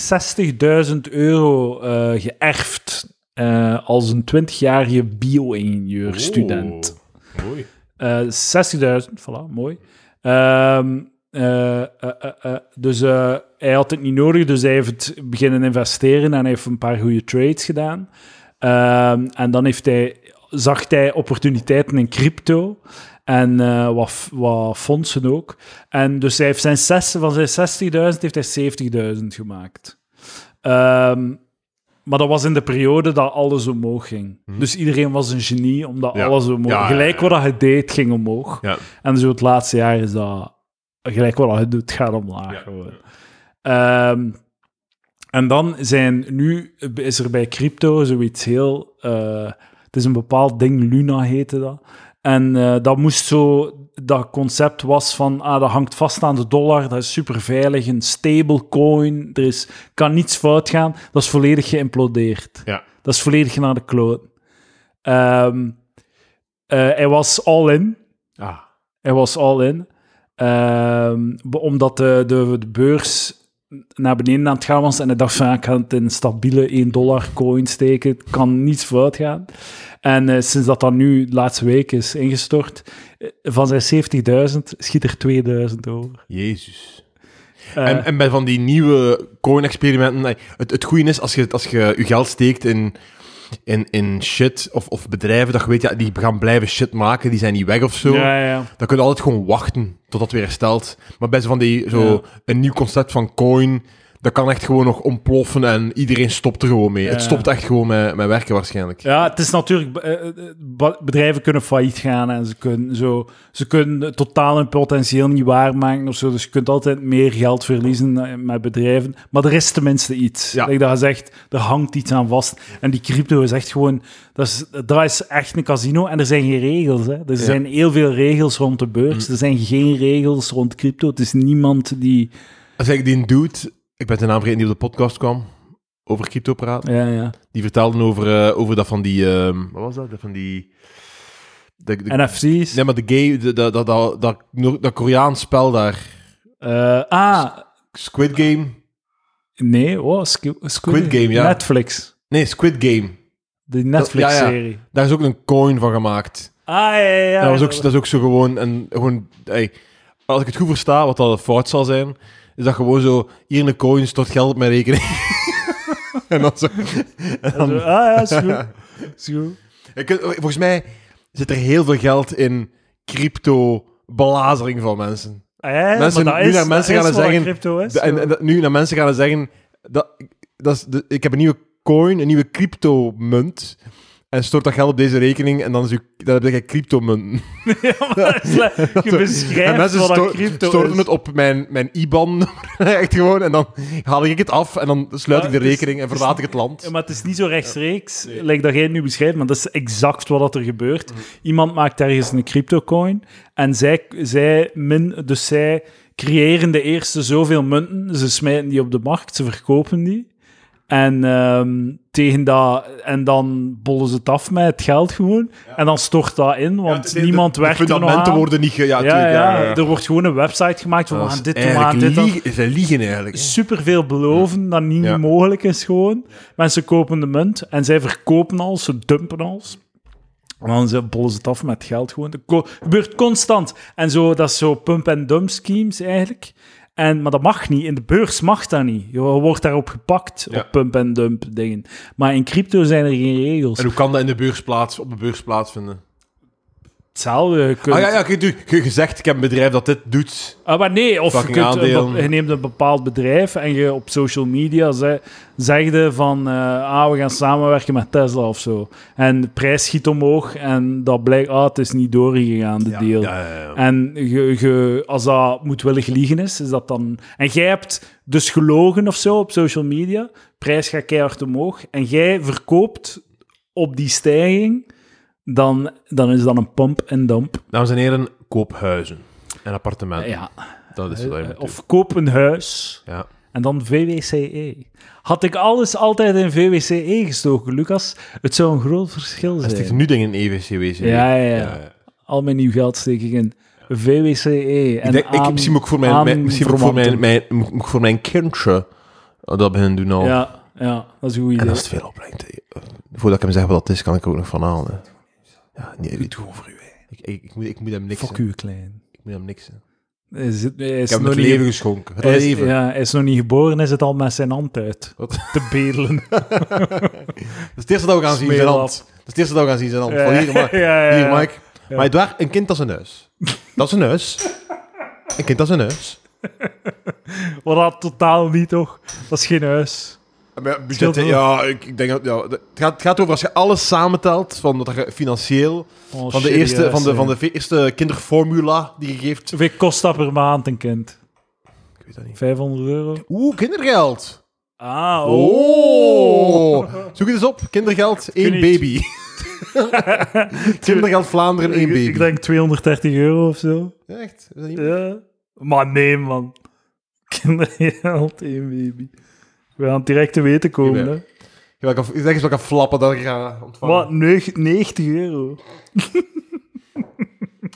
60.000 euro eh, geërfd eh, als een 20-jarige bio-ingenieur-student.
Oeh, mooi.
Eh, 60.000, voilà, mooi. Ehm, eh, eh, eh, eh, dus eh, hij had het niet nodig, dus hij heeft het beginnen investeren en hij heeft een paar goede trades gedaan. Ehm, en dan heeft hij, zag hij opportuniteiten in crypto en eh, wat, f- wat fondsen ook. En dus hij heeft zijn zes, van zijn 60.000 heeft hij 70.000 gemaakt. Ehm, maar dat was in de periode dat alles omhoog ging. Dus iedereen was een genie, omdat
Mhm. Ja.
alles omhoog...
Ja, ja, ja.
Gelijk wat dat je deed, ging omhoog.
Ja.
En zo het laatste jaar is dat... Gelijk wat dat je doet, gaat omlaag.
Ja.
gewoon. Ehm, en dan zijn nu... Is er bij crypto zoiets heel... eh, het is een bepaald ding, Luna heette dat. En eh, dat moest zo... Dat concept was van, ah, dat hangt vast aan de dollar, dat is super veilig, een stablecoin, er is, kan niets fout gaan. Dat is volledig geïmplodeerd.
Ja.
Dat is volledig naar de kloot. Ehm, eh, hij was all in.
Ah.
Hij was all in. Ehm, be- omdat de, de, de eh, beurs naar beneden aan het gaan was. En ik dacht van, ja, ik ga het in stabiele 1 dollar coin steken. Het kan niets fout gaan. En eh, sinds dat dat nu de laatste week is ingestort, eh, van zijn 70.000 schiet er 2000 over.
Jezus.
Eh,
En, en bij van die nieuwe coin-experimenten... eh, Het, het goede is, als je, als je je geld steekt in, in, in shit of, of bedrijven, dat je weet, ja, die gaan blijven shit maken, die zijn niet weg of zo.
Ja, ja.
Dan kun je altijd gewoon wachten tot dat weer herstelt. Maar bij zo van die, zo,
Ja.
een nieuw concept van coin, dat kan echt gewoon nog ontploffen en iedereen stopt er gewoon mee.
Ja.
Het stopt echt gewoon met, met werken waarschijnlijk.
Ja, het is natuurlijk. eh, eh, ba- Bedrijven kunnen failliet gaan en ze kunnen, zo, ze kunnen totaal hun potentieel niet waarmaken of zo. Dus je kunt altijd meer geld verliezen eh, met bedrijven. Maar er is tenminste iets.
Ja.
Like dat gezegd, er hangt iets aan vast. En die crypto is echt gewoon. Dat is, dat is echt een casino en er zijn geen regels. Hè. Er zijn heel veel regels rond de beurs.
Mm.
Er zijn geen regels rond crypto. Het is niemand die.
Als ik die dude, ik ben zijn naam vergeten die op de podcast kwam, over crypto praten.
Ja, ja.
Die vertelden over, eh, over dat van die... ehm, wat was dat? Dat van die... De, de-
NFC's.
nee, maar de gay... de- de- dat- dat, dat, Noor- dat Koreaans spel daar.
Eh, ah,
Squid Game?
nee. Oh, Squid,
Squid Game, ja.
Netflix.
Nee, Squid Game.
De Netflix-serie.
Daar is ook een coin van gemaakt.
Ah, ja, ja. ja.
En dat, was ook, dat is ook zo gewoon... En gewoon ey, als ik het goed versta, wat dat fout zal zijn, is dat gewoon zo... Hier een coin, stort geld op mijn rekening. en dan zo... En
Ah,
dan,
ja, is goed. Is goed.
Je kunt- volgens mij zit er heel veel geld in crypto-belazering van mensen.
Ah, ja,
Mensen-
maar dat
nu
is,
naar mensen
dat
gaan
is
en
wat
zeggen,
Crypto is,
De- en, en dat- nu naar mensen gaan zeggen... Dat, dat is de- ik heb een nieuwe coin, een nieuwe crypto-munt... En stort dat geld op deze rekening en dan, is uw, dan heb je cryptomunten.
ja, maar dat is le- je
en
beschrijft
mensen
wat dat
sto-
crypto
storten
is.
het op mijn, mijn IBAN. Echt gewoon. En dan haal ik het af en dan sluit
Ja,
ik de
het is-
rekening en
het is
verlaat ik het land.
Ja, maar het is niet zo rechtstreeks, like dat jij het nu beschrijft, maar dat is exact wat dat er gebeurt. Iemand maakt ergens een cryptocoin en zij, zij, min, dus zij creëren de eerste zoveel munten, ze smijten die op de markt, ze verkopen die. En, ehm, tegen dat, en dan bollen ze het af met het geld gewoon. En dan stort dat in, want
Ja, de- de-
niemand
de
werkt er nog
fundamenten
aan.
worden niet... Ge, ja,
ja,
tuurlijk,
ja, er wordt gewoon een website gemaakt van we gaan dit doen, we gaan dit doen
Ze liegen eigenlijk.
super veel beloven dat niet
Ja.
mogelijk is gewoon. Mensen kopen de munt en zij verkopen alles, ze dumpen alles. En dan ze bollen ze het af met geld gewoon. Dat ko- gebeurt constant. En zo, dat is zo pump-and-dump schemes eigenlijk. En, maar dat mag niet. In de beurs mag dat niet. Je wordt daarop gepakt,
Ja.
op pump-and-dump dingen. Maar in crypto zijn er geen regels.
En hoe kan dat in de beurs plaats, op de beurs plaatsvinden?
Hetzelfde. Je kunt-
Ah ja, ja oké, tuurlijk. je gezegd, ik heb een bedrijf dat dit doet.
Ah, maar nee, of je,
Fucking
kunt, een
aandelen.
be- je neemt een bepaald bedrijf en je op social media ze, zegde van eh, ah, we gaan samenwerken met Tesla of zo. En de prijs schiet omhoog en dat blijkt, ah, het is niet doorgegaan, de deal.
Ja, ja, ja.
En je, je- als dat moedwillig liegen is, is dat dan... En jij hebt dus gelogen of zo op social media, prijs gaat keihard omhoog, en jij verkoopt op die stijging, dan, dan is dat een pump en dump.
Dames en heren, koop huizen en appartementen.
Ja. Eh,
Dat is wat je moet doen.
Of koop een huis...
Ja.
En dan VWCE. E. Had ik alles altijd in VWCE E gestoken, Lucas? Het zou een groot verschil
Hij stikt
zijn.
nu dingen in E EWCWC.
Ja, ja, ja. Al mijn nieuw geld steek ik in VWCE. E En
Ik, denk, ik
aan-
misschien ook voor mijn, mijn, misschien ook voor mijn,
aanverwanten.
mijn, moet ik voor mijn kindje dat beginnen doen al.
Ja, ja, dat is een goed
En
idee.
als het veel opbrengt, eh, voordat ik hem zeg wat dat is, kan ik er ook nog van halen. hè. Ja, nee, ik doe voor u. Ik, ik, ik, moet, ik moet hem niks.
Fuck
hè.
u, klein.
Ik moet hem niks. hè.
Hij zit- hij is
Ik heb hem
nog
het
niet-
leven geschonken. Het
hij is-
leven.
Ja, hij is nog niet geboren, hij zit al met zijn hand uit.
Wat?
Te bedelen.
Dat is het eerste dat we gaan zien zijn
Smeer
hand. Dat is het eerste dat we gaan zien zijn hand. Van hier, Mike.
ja, ja.
Hier, Mike. Maar Edouard, een kind als een huis. Dat is een huis. Een kind als een huis.
Wat dat totaal niet, toch? Dat is geen huis.
Maar ja,
Scheelt
budget,
wel.
ja, ik, ik denk dat... Ja, het, gaat, het gaat over als je alles samentelt, van dat je financieel,
Oh,
van de,
shitty
eerste,
huis,
van, de,
hè.
van de ve- eerste kinderformula die je geeft.
Hoeveel kost dat per maand, een kind?
Ik weet dat niet.
500 euro?
Oeh, kindergeld.
Ah,
Oh. Zoek het eens op. Kindergeld, één
niet.
baby. kindergeld Vlaanderen, één
Ik,
baby.
ik denk 230 euro of zo.
Ja, Echt? Is dat niet-
Ja. Maar nee, man. Kindergeld, één baby. We gaan het direct te weten komen,
Jawel. Oh.
hè.
Welke, zeg eens welke flappen dat ik ga ontvangen.
Wat, neug- 90 euro?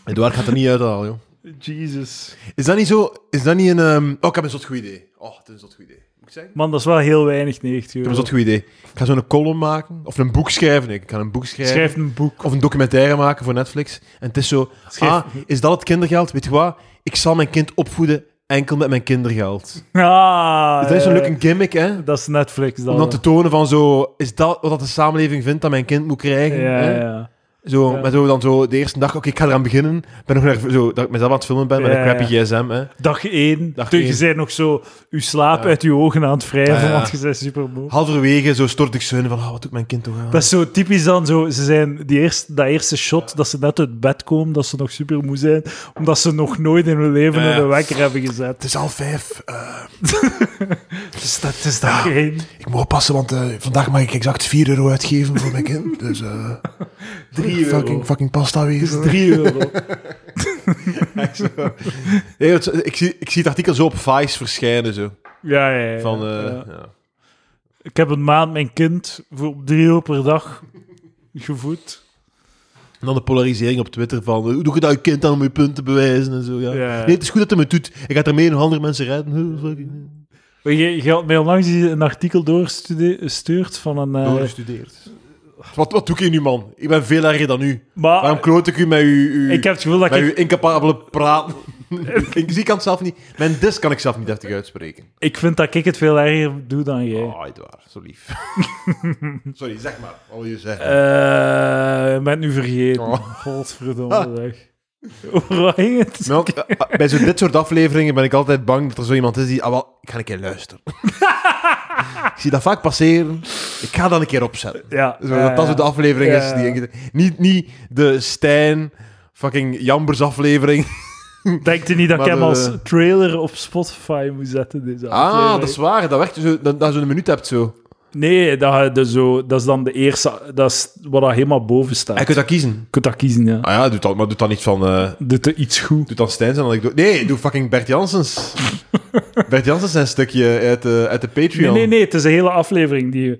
Eduard gaat er niet uithalen, joh.
Jesus.
Is dat niet zo... Is dat niet een... ehm, Oh, ik heb een zot goed idee. Oh, het is een zot goed idee. Moet ik zeggen?
Man, dat is wel heel weinig 90
Ik
euro.
heb een zot goed idee. Ik ga zo'n column maken. Of een boek schrijven. Nee, ik kan een boek schrijven.
Schrijf een boek.
Of een documentaire maken voor Netflix. En het is zo...
Schrijf-
Ah, is dat het kindergeld? Weet je wat? Ik zal mijn kind opvoeden enkel met mijn kindergeld.
Ah,
dat is een
eh,
leuke gimmick, hè?
Dat is Netflix dan.
Om dan te tonen van zo... Is dat wat de samenleving vindt dat mijn kind moet krijgen?
ja,
hè?
ja.
Zo,
Ja.
maar zo dan zo de eerste dag, oké, ik ga eraan beginnen. Ik ben nog naar, zo, dat ik mezelf aan het filmen ben met
Ja,
een crappy
ja.
gsm. Hè.
Dag 1.
Dag
Toen
één.
je bent nog zo je slaap
Ja.
uit je ogen aan het wrijven,
Ja, ja.
want je bent super
Halverwege zo stort ik zo in van, ah, wat doet mijn kind toch aan?
Dat is zo typisch dan zo. Ze zijn die eerste, dat eerste shot dat ze net uit bed komen, dat ze nog super moe zijn, omdat ze nog nooit in hun leven
Ja, ja.
een wekker hebben gezet.
Het is half vijf. eh,
Het is, dat is dag één.
ik moet oppassen, want eh, vandaag mag ik exact 4 euro uitgeven voor mijn kind. Dus eh
Drie euro.
fucking, fucking pasta weer.
Het is 3 euro.
Echt zo. Nee, want ik, zie, ik zie het artikel zo op Vice verschijnen. Zo,
Ja, ja, ja.
van, eh,
Ja.
ja.
Ik heb een maand mijn kind voor 3 euro per dag gevoed.
En dan de polarisering op Twitter van, eh, hoe doe je dat je kind aan om je punten te bewijzen en zo. Ja.
Ja.
Nee, het is goed dat hij me doet. Ik ga ermee nog andere mensen redden. Huh, fucking,
Maar Je, je had mij onlangs een artikel doorgestuurd van een... eh,
Doorgestudeerd. Wat, wat doe ik hier nu, man? Ik ben veel erger dan u.
maar
Waarom kloot ik u met uw, uw,
Ah, ik heb het gevoel dat
met
ik...
uw incapabele praat? ik zie ik kan het zelf niet. Mijn dis kan ik zelf niet deftig uitspreken.
Ik vind dat ik het veel erger doe dan jij.
Ah, Edouard, zo lief. Sorry, zeg maar. Wat wil je zeggen?
Eh, ik ben het nu vergeten.
Oh.
Godverdomme zeg. Over wat ging het?
Melk, eh, eh, bij zo dit soort afleveringen ben ik altijd bang dat er zo iemand is die... Ah, wel, ik ga een keer luisteren. ik zie dat vaak passeren. Ik ga dat een keer opzetten.
Ja.
Zo, Dus dat dat zo de aflevering
Ja,
is. Die,
ja.
niet, niet de Stijn fucking Jambers aflevering.
Denk je niet dat
Maar
ik hem
de-
als trailer op Spotify moet zetten? Deze
Ah,
aflevering?
dat is waar. Dat werkt zo, dat, dat je een minuut hebt zo.
Nee, dat, je de zo, dat is dan de eerste... Dat is wat daar helemaal boven staat.
Hij
Je
kunt dat kiezen.
kunt dat kiezen, ja.
Ah ja, doe dan, maar doe dan niet van... eh
Doet er iets goed.
doe dan Stijn zijn anekdote. Nee, doe fucking Bert Janssens. Bert Janssens zijn stukje uit de, uit de
Nee,
Patreon.
nee, nee. Het is een hele aflevering die je...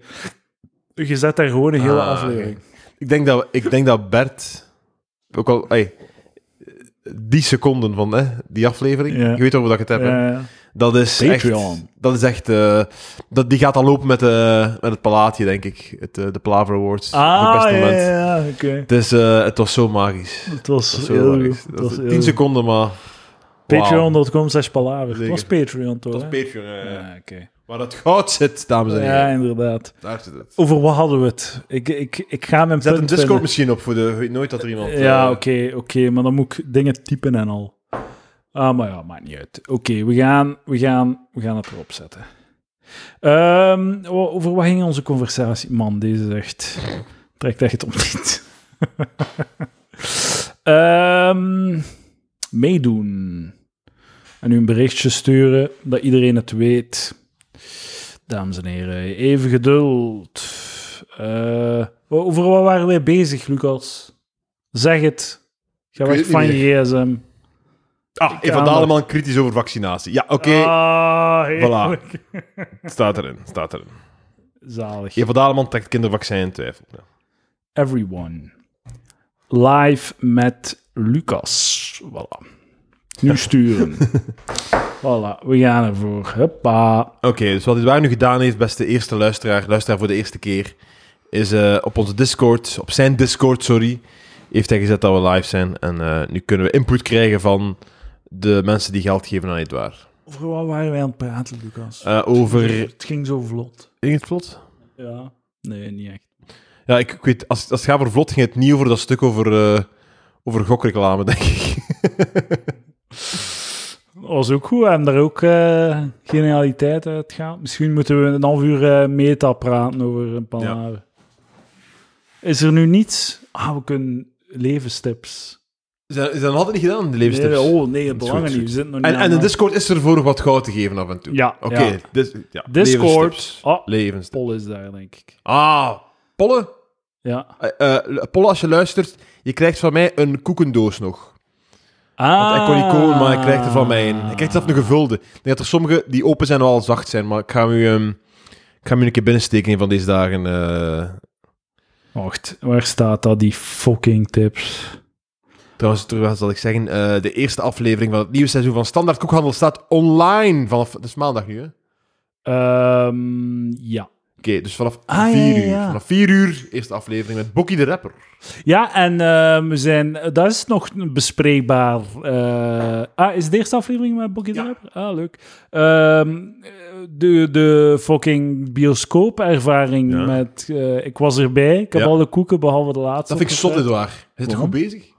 Je zet daar gewoon een hele
Ah,
aflevering.
Ik, denk dat, ik denk dat Bert... Ook al... ey, die seconden van hè, die aflevering.
Ja.
Je weet over dat ik het heb. hè.
Ja, ja.
Dat is echt...
Patreon.
Dat is echt... eh, dat, die gaat al lopen met, eh, met het palaatje, denk ik. Het, eh, de Palaver Awards. Op het
Ah,
beste
ja,
moment.
ja, ja, oké.
Het, is, eh, het was zo magisch.
Het was,
Dat is
heel
heel
goed.
erg.
Het was heel
10
goed.
seconden, maar.
Patreon.com slash palaver. Dat
Zeker.
was Patreon, toch?
Dat is
hè?
Patreon, ja, ja.
Ah, oké.
Waar dat goud zit, dames en heren.
Ja, inderdaad.
Daar zit het.
Over wat hadden we het? Ik, ik, ik ga mijn
Zet een
punt
Discord
vinden.
misschien op voor de. Weet nooit dat er iemand.
Ja,
eh,
oké, oké. maar dan moet ik dingen typen en al. Ah, maar ja, maakt niet uit. Oké, we, gaan, we, gaan, we gaan het erop zetten. Ehm, wa- over wat ging onze conversatie? Man, deze is echt... Trekt echt om niet. Ehm, meedoen. En u een berichtje sturen, dat iedereen het weet. Dames en heren, even geduld. Eh, wa- over wat waren wij bezig, Lucas? Zeg het. Ga
Ik weet
weg
het
van je
niet
gsm.
Ah,
Ik
Evan
kan
Daleman kritisch over vaccinatie. Ja, oké.
Ah, heerlijk.
Staat erin. Staat erin.
Zalig.
Evan Daleman trekt kindervaccin in twijfel. Ja.
Everyone. Live met Lucas. Voilà. Nu sturen. voilà, we gaan ervoor. Huppa.
Oké, dus wat Edouard nu gedaan heeft, beste eerste luisteraar, luisteraar voor de eerste keer, is eh, op onze Discord, op zijn Discord, sorry, heeft hij gezet dat we live zijn. En eh, nu kunnen we input krijgen van de mensen die geld geven aan Edouard.
Over wat waren wij aan het praten, Lucas?
Eh, over...
Het ging zo vlot.
Ging het vlot?
Ja. Nee, niet echt.
Ja, ik, ik weet, als, als het gaat over vlot, ging het niet over dat stuk over, eh, over gokreclame, denk ik.
was ook goed. We hebben daar ook eh, genialiteit uit gehaald. Misschien moeten we een half uur eh, meta praten over een palaver. Is er nu niets? Ah, we kunnen levenstips.
Is dat, is dat nog altijd niet gedaan, de levenstips?
Nee, oh nee, het
Goed,
belangen
goed.
niet. We zitten nog niet
en,
aan
en de
de-
Discord is er voor wat goud te geven af en toe.
Ja,
Oké,
ja.
dis- ja,
Discord.
levenstips.
Ah.
Levenstips.
Pol is daar, denk ik.
Ah, pollen?
Ja.
Eh, eh, Paul, als je luistert, je krijgt van mij een koekendoos nog.
Ah.
Want ik kon niet komen, maar ik krijg er van mij een. Ik krijg zelf een gevulde. Ik denk dat er sommige die open zijn al zacht zijn, maar ik ga hem u, ehm, ik ga hem u een keer binnensteken een van deze dagen. eh.
Wacht, waar staat dat, die fucking tips?
Trouwens, terwijl zal ik zeggen, eh, de eerste aflevering van het nieuwe seizoen van Standaard Koekhandel staat online vanaf... Dat is maandag nu, hè? Oké,
Ehm, ja.
dus vanaf
Ah,
4
ja, ja,
uur.
ja.
Vanaf 4 uur, eerste aflevering met Bokkie de Rapper.
Ja, en eh, we zijn, dat is nog bespreekbaar. eh. ah, is de eerste aflevering met Bokkie de
Ja.
Rapper? Ah, leuk. Ehm, de, de fucking bioscoopervaring
Ja.
met... eh, ik was erbij, ik heb
Ja.
alle koeken, behalve de laatste.
Dat vind ik zot,
opgeruimd.
Edouard. Is het
Waarom?
goed bezig?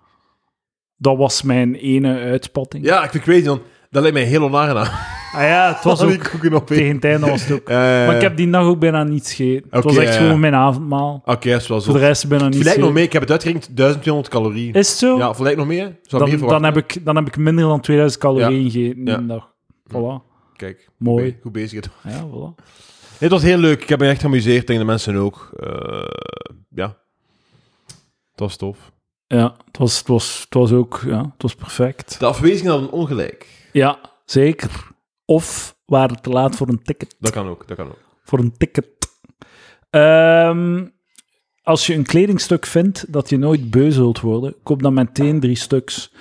Dat was mijn ene uitspatting.
Ja, ik vind crazy, want dat lijkt mij heel onaangenaam.
Ah ja, het was
Al die
ook...
koeken op één.
Tegen het einde was het ook...
Eh,
Maar ik heb die nacht ook bijna niets gegeten. het was
Oké,
echt
ja, ja.
gewoon mijn avondmaal.
Oké, dat is wel
Voor de
zot.
rest bijna niets
Vergelijk nog
gegeten.
mee, ik heb het uitgerekend, 1200 calorieën.
Is het zo?
Ja, vergelijk nog mee, hè? Zou
dan,
meer
dan,
verwachten.
heb ik, dan heb ik minder dan 2000 calorieën gegeten
Ja.
in een dag. Voilà.
Kijk,
Mooi.
Goed bezig, Edouard.
Ja, voilà.
Nee, Het was heel leuk. Ik heb me echt geamuseerd. Tegen de mensen ook. Eh, ja. Het was tof.
Ja, het was, het was, het was ook... Ja, het was perfect.
De afwezingen hadden ongelijk.
Ja, zeker. Of waren te laat voor een ticket.
Dat kan ook, dat kan ook.
Voor een ticket. Ehm, als je een kledingstuk vindt dat je nooit beu zult worden, koop dan meteen drie stuks.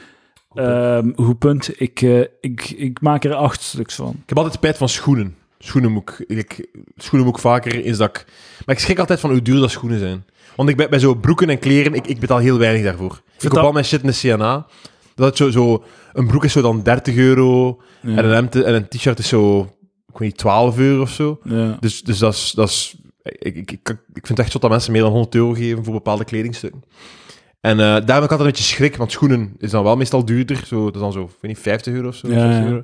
Ehm, Goed punt. Ik, eh, ik, ik maak er acht stuks van.
Ik heb altijd spijt van schoenen. Schoenen moet ik, ik- schoenen moet ik vaker is dat ik... Maar ik schrik altijd van hoe duur dat schoenen zijn. Want ik ben bij zo'n broeken en kleren, ik, ik betaal heel weinig daarvoor. Ik koop
dat-
al mijn shit in de CNA. Dat het zo, zo, een broek is zo dan 30 euro.
Ja.
En een hemd en een t-shirt is zo, ik weet niet, 12 euro of zo.
Ja.
Dus, dus dat is... Dat is ik, ik, ik, ik vind het echt zo dat mensen meer dan 100 euro geven voor bepaalde kledingstukken. En eh daar heb ik altijd een beetje schrik, want schoenen is dan wel meestal duurder. Zo, dat is dan zo, ik weet niet, 50 euro of zo.
Ja,
60
ja.
euro.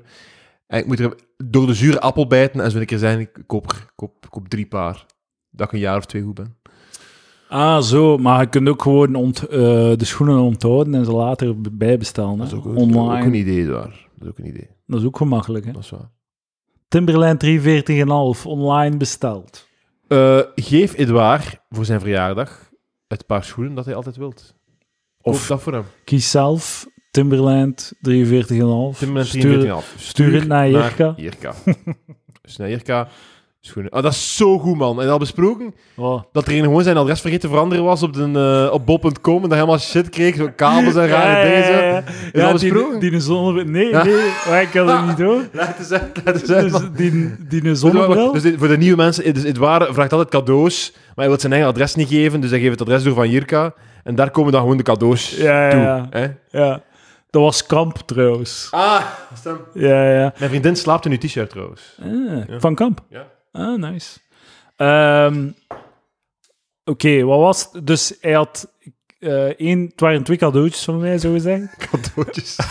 En ik moet er door de zure appel bijten en zo een keer zijn, ik koop, er- koop, koop drie paar. Dat ik een jaar of twee goed ben.
Ah, zo. Maar je kunt ook gewoon ont, eh, de schoenen onthouden en ze later b- bijbestellen.
Dat is
hè.
ook, een-
Online.
ook een idee, daar. Dat is ook een idee.
Dat is ook gemakkelijk. Hè?
Dat is waar.
Timberland 43,5 online besteld.
Eh, geef Edouard voor zijn verjaardag het paar schoenen dat hij altijd wilt. Of
Of-
dat voor hem.
Kies zelf Timberland 43,5.
Timmerland
Stuur,
43,5.
stuur het naar Jirka.
Jirka. dus naar Jirka. Schoenen. Ah, dat is zo goed, man. En al besproken
Oh.
dat er een gewoon zijn adres vergeten te veranderen was op, de, eh, op bol.com en dat hij helemaal shit kreeg. Zo kabels en rare dingen. zo. Is
Ja,
al
die,
besproken?
die een zonnebril. Nee,
Ja.
nee, maar ik had het niet door.
Laat eens uit, laat eens uit, man.
Dus die, die een
Dus,
zonnebril.
dit- voor de nieuwe mensen, dus Edouard vraagt altijd cadeaus, maar hij wil zijn eigen adres niet geven, dus hij geeft het adres door van Jirka. En daar komen dan gewoon de cadeaus
Ja, ja,
toe.
ja.
hè?
Ja. Dat was kamp trouwens.
Ah, stem.
Ja, ja.
Mijn vriendin slaapt in uw t-shirt trouwens.
Ah, Van kamp.
Ja.
Ah, nice. Ehm, Oké, wat was het? Dus hij had eh één, het waren twee cadeautjes van mij, zo gezegd.
Cadeautjes.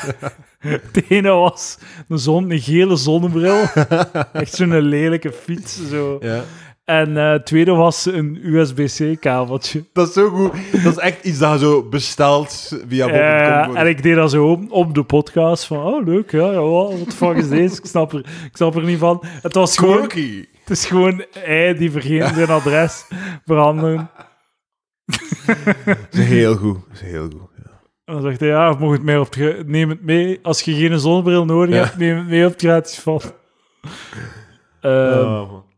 Het ene was een, zon, een gele zonnebril. Echt zo'n lelijke fiets. Zo.
ja.
En eh, het tweede was een USB-C-kabeltje.
Dat is zo goed. Dat is echt iets dat je zo bestelt via bol.com.
Eh, en ik deed dat zo op, op de podcast. Van, oh, leuk, ja, ja, wat de fuck is deze? Ik snap, er, ik snap er niet van. Het was gewoon...
Quirky.
Het is gewoon hij die vergeten zijn adres veranderen.
Dat is heel goed. Dat is heel goed. ja.
En dan zegt hij, ja, mocht het mee op het gra- neem het mee. Als je geen zonnebril nodig
Ja.
hebt, neem het mee op het gratis vat. Ehm,
Oh, man.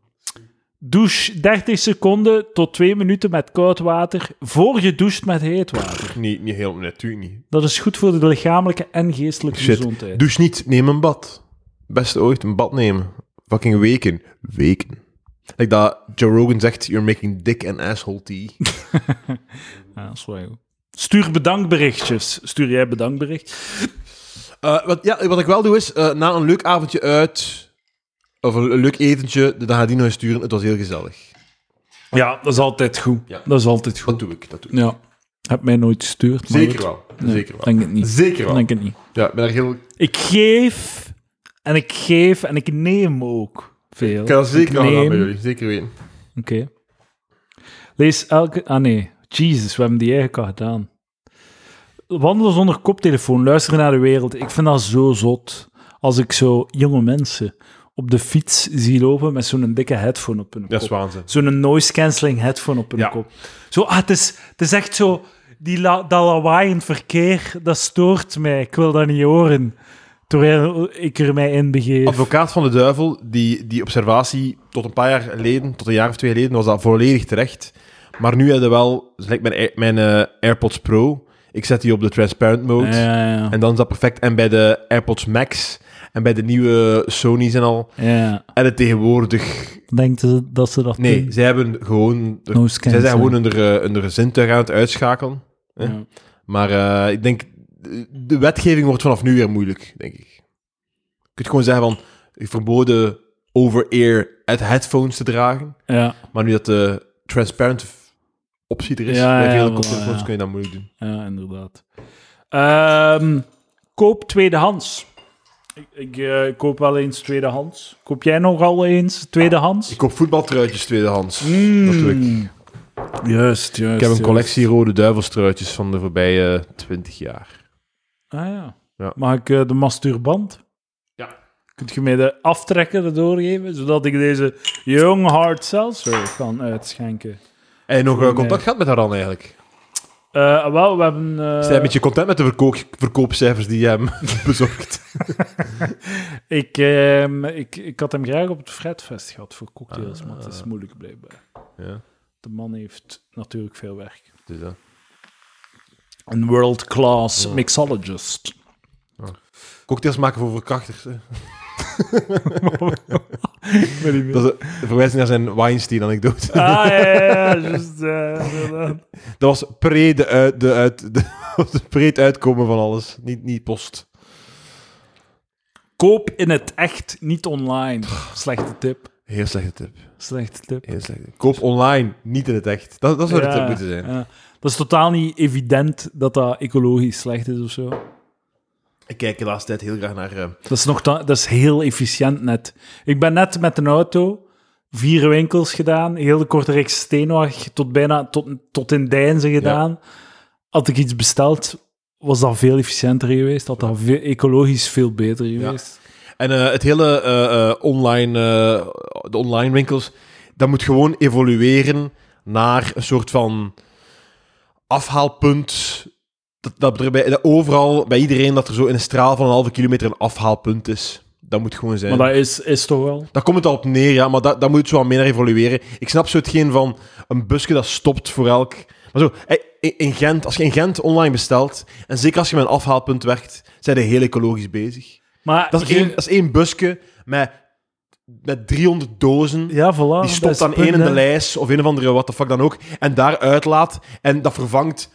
Douche 30 seconden tot 2 minuten met koud water, voor je doucht met heet water.
niet, niet heel, nee, natuurlijk niet.
Dat is goed voor de lichamelijke en geestelijke
Shit.
gezondheid.
Douche niet, neem een bad. Beste ooit, een bad nemen. Fucking weken. Weken. Like dat Joe Rogan zegt, you're making dick and asshole tea.
Ja, dat is wel goed. Stuur bedankberichtjes. Stuur jij bedankbericht?
Eh, wat, ja, wat ik wel doe is, eh, na een leuk avondje uit, of een, een leuk etentje, de dag die naar huis sturen. Het was heel gezellig.
Ja, dat is altijd goed.
Ja.
Dat is altijd
Dat
goed.
doe ik, dat doe ik.
Ja. Heb mij nooit gestuurd. maar
Zeker
goed.
wel.
Nee,
Zeker wel.
Denk het niet.
Zeker wel.
Denk het niet.
Ja, ik ben er heel...
Ik geef en ik geef en ik neem ook veel.
Ik kan dat zeker wel
neem.
aan bij jullie. Zeker weten.
Oké. Lees elke... Ah nee, Jesus, we hebben die eigenlijk al gedaan. Wandelen zonder koptelefoon, luisteren naar de wereld. Ik vind dat zo zot. Als ik zo jonge mensen op de fiets zie lopen met zo'n dikke headphone op hun
Dat is
kop.
waanzin.
Zo'n noise-canceling headphone op hun
Ja.
kop. Zo, ah, het is, het is echt zo... Die la, dat lawaai in het verkeer, dat stoort mij. Ik wil dat niet horen. Terwijl ik er mij in begeef.
Advocaat van de duivel, die, die observatie tot een paar jaar geleden, tot een jaar of twee geleden, was dat volledig terecht. Maar nu hadden wel, dus lijkt mijn, Air- mijn eh, AirPods Pro, Ik zet die op de transparent mode.
Ja, ja,
En dan is dat perfect. En bij de AirPods Max en bij de nieuwe Sony's en al.
ja.
En het tegenwoordig.
Denkt ze dat ze dat
Nee,
doen?
zij hebben gewoon. er-
No
zij
scans,
zijn gewoon
hè.
hun eh, hun zintuig aan het uitschakelen. hè.
Ja.
Maar eh, ik denk. De wetgeving wordt vanaf nu weer moeilijk, denk ik. Je kunt gewoon zeggen van. verboden over-ear at- headphones te dragen.
Ja,
Maar nu dat de transparent optie er is.
Ja,
bij
ja,
vele
voilà,
koptelefoons
ja.
kun je dat moeilijk doen.
ja, inderdaad. Ehm, koop tweedehands. Ik, ik eh, koop wel eens tweedehands. Koop jij nogal eens tweedehands?
Ik koop voetbaltruitjes tweedehands. Dat doe ik.
Mm. Juist, juist.
Ik heb een collectie rode duivelstruitjes van de voorbije eh, 20 jaar.
Ah ja.
Ja.
Mag ik eh, de mastuurband?
Ja.
Kunt je mij de aftrekker erdoor geven, zodat ik deze Young Hard Seltzer kan uitschenken?
En nog eh,
Voor mij.
contact gehad met haar dan eigenlijk?
Eh, wel, we hebben... eh,
Zijn je een beetje content met de verkoop, verkoopcijfers die je hem bezorgt?
ik, ehm, ik, ik had hem graag op het Fredfest gehad voor cocktails, maar het is moeilijk blijkbaar.
ja,
De man heeft natuurlijk veel werk.
dus dat.
Een world-class mixologist.
Cocktails maken voor verkrachters. hè.
Weet niet meer.
Dat is een verwijzing naar zijn Weinstein-anekdote.
Ah, ja, ja, ja, juist, ja, inderdaad.
Dat was pre de uit, de uit, de, was pre het uitkomen van alles. Niet, niet post.
Koop in het echt, niet online. Slechte tip.
Heel slechte tip.
Slechte tip.
Heel slechte tip. Koop online, niet in het echt. Dat, dat zou de tip moeten zijn.
ja. Dat is totaal niet evident dat dat ecologisch slecht is of zo.
Ik kijk de laatste tijd heel graag naar... eh,
Dat is, nog ta- dat is heel efficiënt net. Ik ben net met een auto vier winkels gedaan, heel de korte reeks Steenweg tot bijna tot, tot in Deinzen gedaan. Had ik iets besteld, was dat veel efficiënter geweest, had dat ve- ecologisch veel beter geweest.
En eh, het hele eh, eh, online, eh, de online winkels, dat moet gewoon evolueren naar een soort van afhaalpunt. Dat, dat, er bij, dat overal, bij iedereen, dat er zo in een straal van een halve kilometer een afhaalpunt is. Dat moet gewoon zijn.
Maar dat is, is toch wel.
Daar komt het al op neer, ja, maar dat, dat moet het zo wat meer evolueren. Ik snap zo hetgeen van een busje dat stopt voor elk. Maar zo, eh, in in Gent, als je in Gent online bestelt, en zeker als je met een afhaalpunt werkt, zijn ze heel ecologisch bezig.
Maar
Dat is,
je-
één, dat is één busje met, met 300 dozen.
Ja, voilà. dat
die
is
stopt
het
dan
punt,
één in de
hè.
lijst of een of andere wat de fuck dan ook. En daar uitlaat. En dat vervangt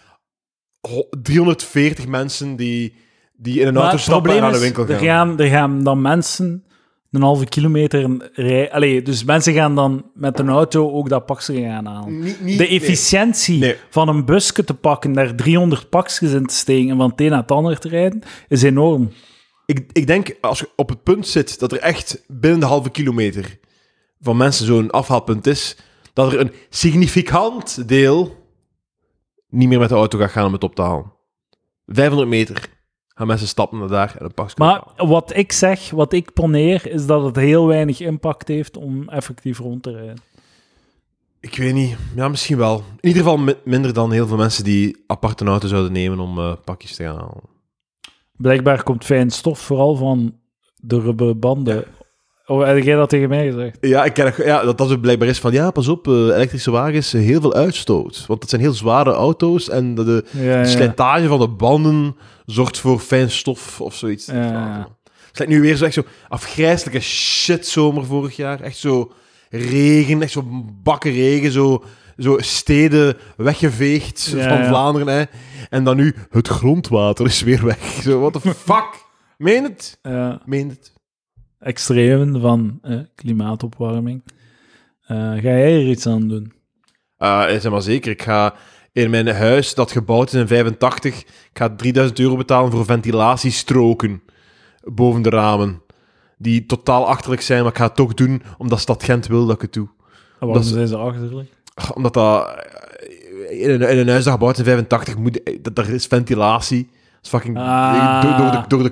ho- 340 mensen die, die in een
Maar
auto
het
stappen en
probleem
naar de
is,
winkel gaan.
Er gaan, er gaan dan mensen een halve kilometer rijden. Allee, dus mensen gaan dan met een auto ook dat pakje gaan halen.
Niet- niet-
De
nee.
efficiëntie
Nee.
van een busje te pakken, daar 300 pakjes in te steken en van het een naar het ander te rijden, is enorm.
Ik, ik denk, als je op het punt zit dat er echt binnen de halve kilometer van mensen zo'n afhaalpunt is, dat er een significant deel niet meer met de auto gaat gaan om het op te halen. 500 meter gaan mensen stappen naar daar en een pakje
Maar
ophalen.
wat ik zeg, wat ik poneer, is dat het heel weinig impact heeft om effectief rond te rijden.
Ik weet niet. Ja, misschien wel. In ieder geval mi- minder dan heel veel mensen die apart een auto zouden nemen om eh, pakjes te gaan halen.
Blijkbaar komt fijn stof vooral van de rubberbanden. Oh, heb jij dat tegen mij gezegd?
Ja, ik ken, dat- ja dat dat zo blijkbaar is van, ja, pas op, eh, elektrische wagens, eh, heel veel uitstoot. Want dat zijn heel zware auto's en de, de
Ja, ja.
De slijtage van de banden zorgt voor fijn stof of zoiets.
Ja, ja, ja.
Het lijkt nu weer zo echt zo afgrijzelijke shitzomer vorig jaar. Echt zo regen, echt zo bakken regen, zo, zo steden weggeveegd
Ja,
van
ja.
Vlaanderen. Hè. En dan nu, het grondwater is weer weg. Zo, what the fuck? Meen het?
Ja.
Meen het?
extremen van eh, klimaatopwarming. Eh, ga jij er iets aan doen?
Eh, zeg maar zeker, ik ga in mijn huis dat gebouwd is in 85, ik ga 3000 euro betalen voor ventilatiestroken boven de ramen. Die totaal achterlijk zijn, maar ik ga het toch doen omdat Stad Gent wil dat ik het doe.
En Ah, waarom
Dat is-
zijn ze achterlijk?
Ah, Omdat dat eh, in een, in een huis dat gebouwd is in 85, moet, eh, dat, daar is ventilatie. Dat is fucking eh,
Ah.
door, door de, door de,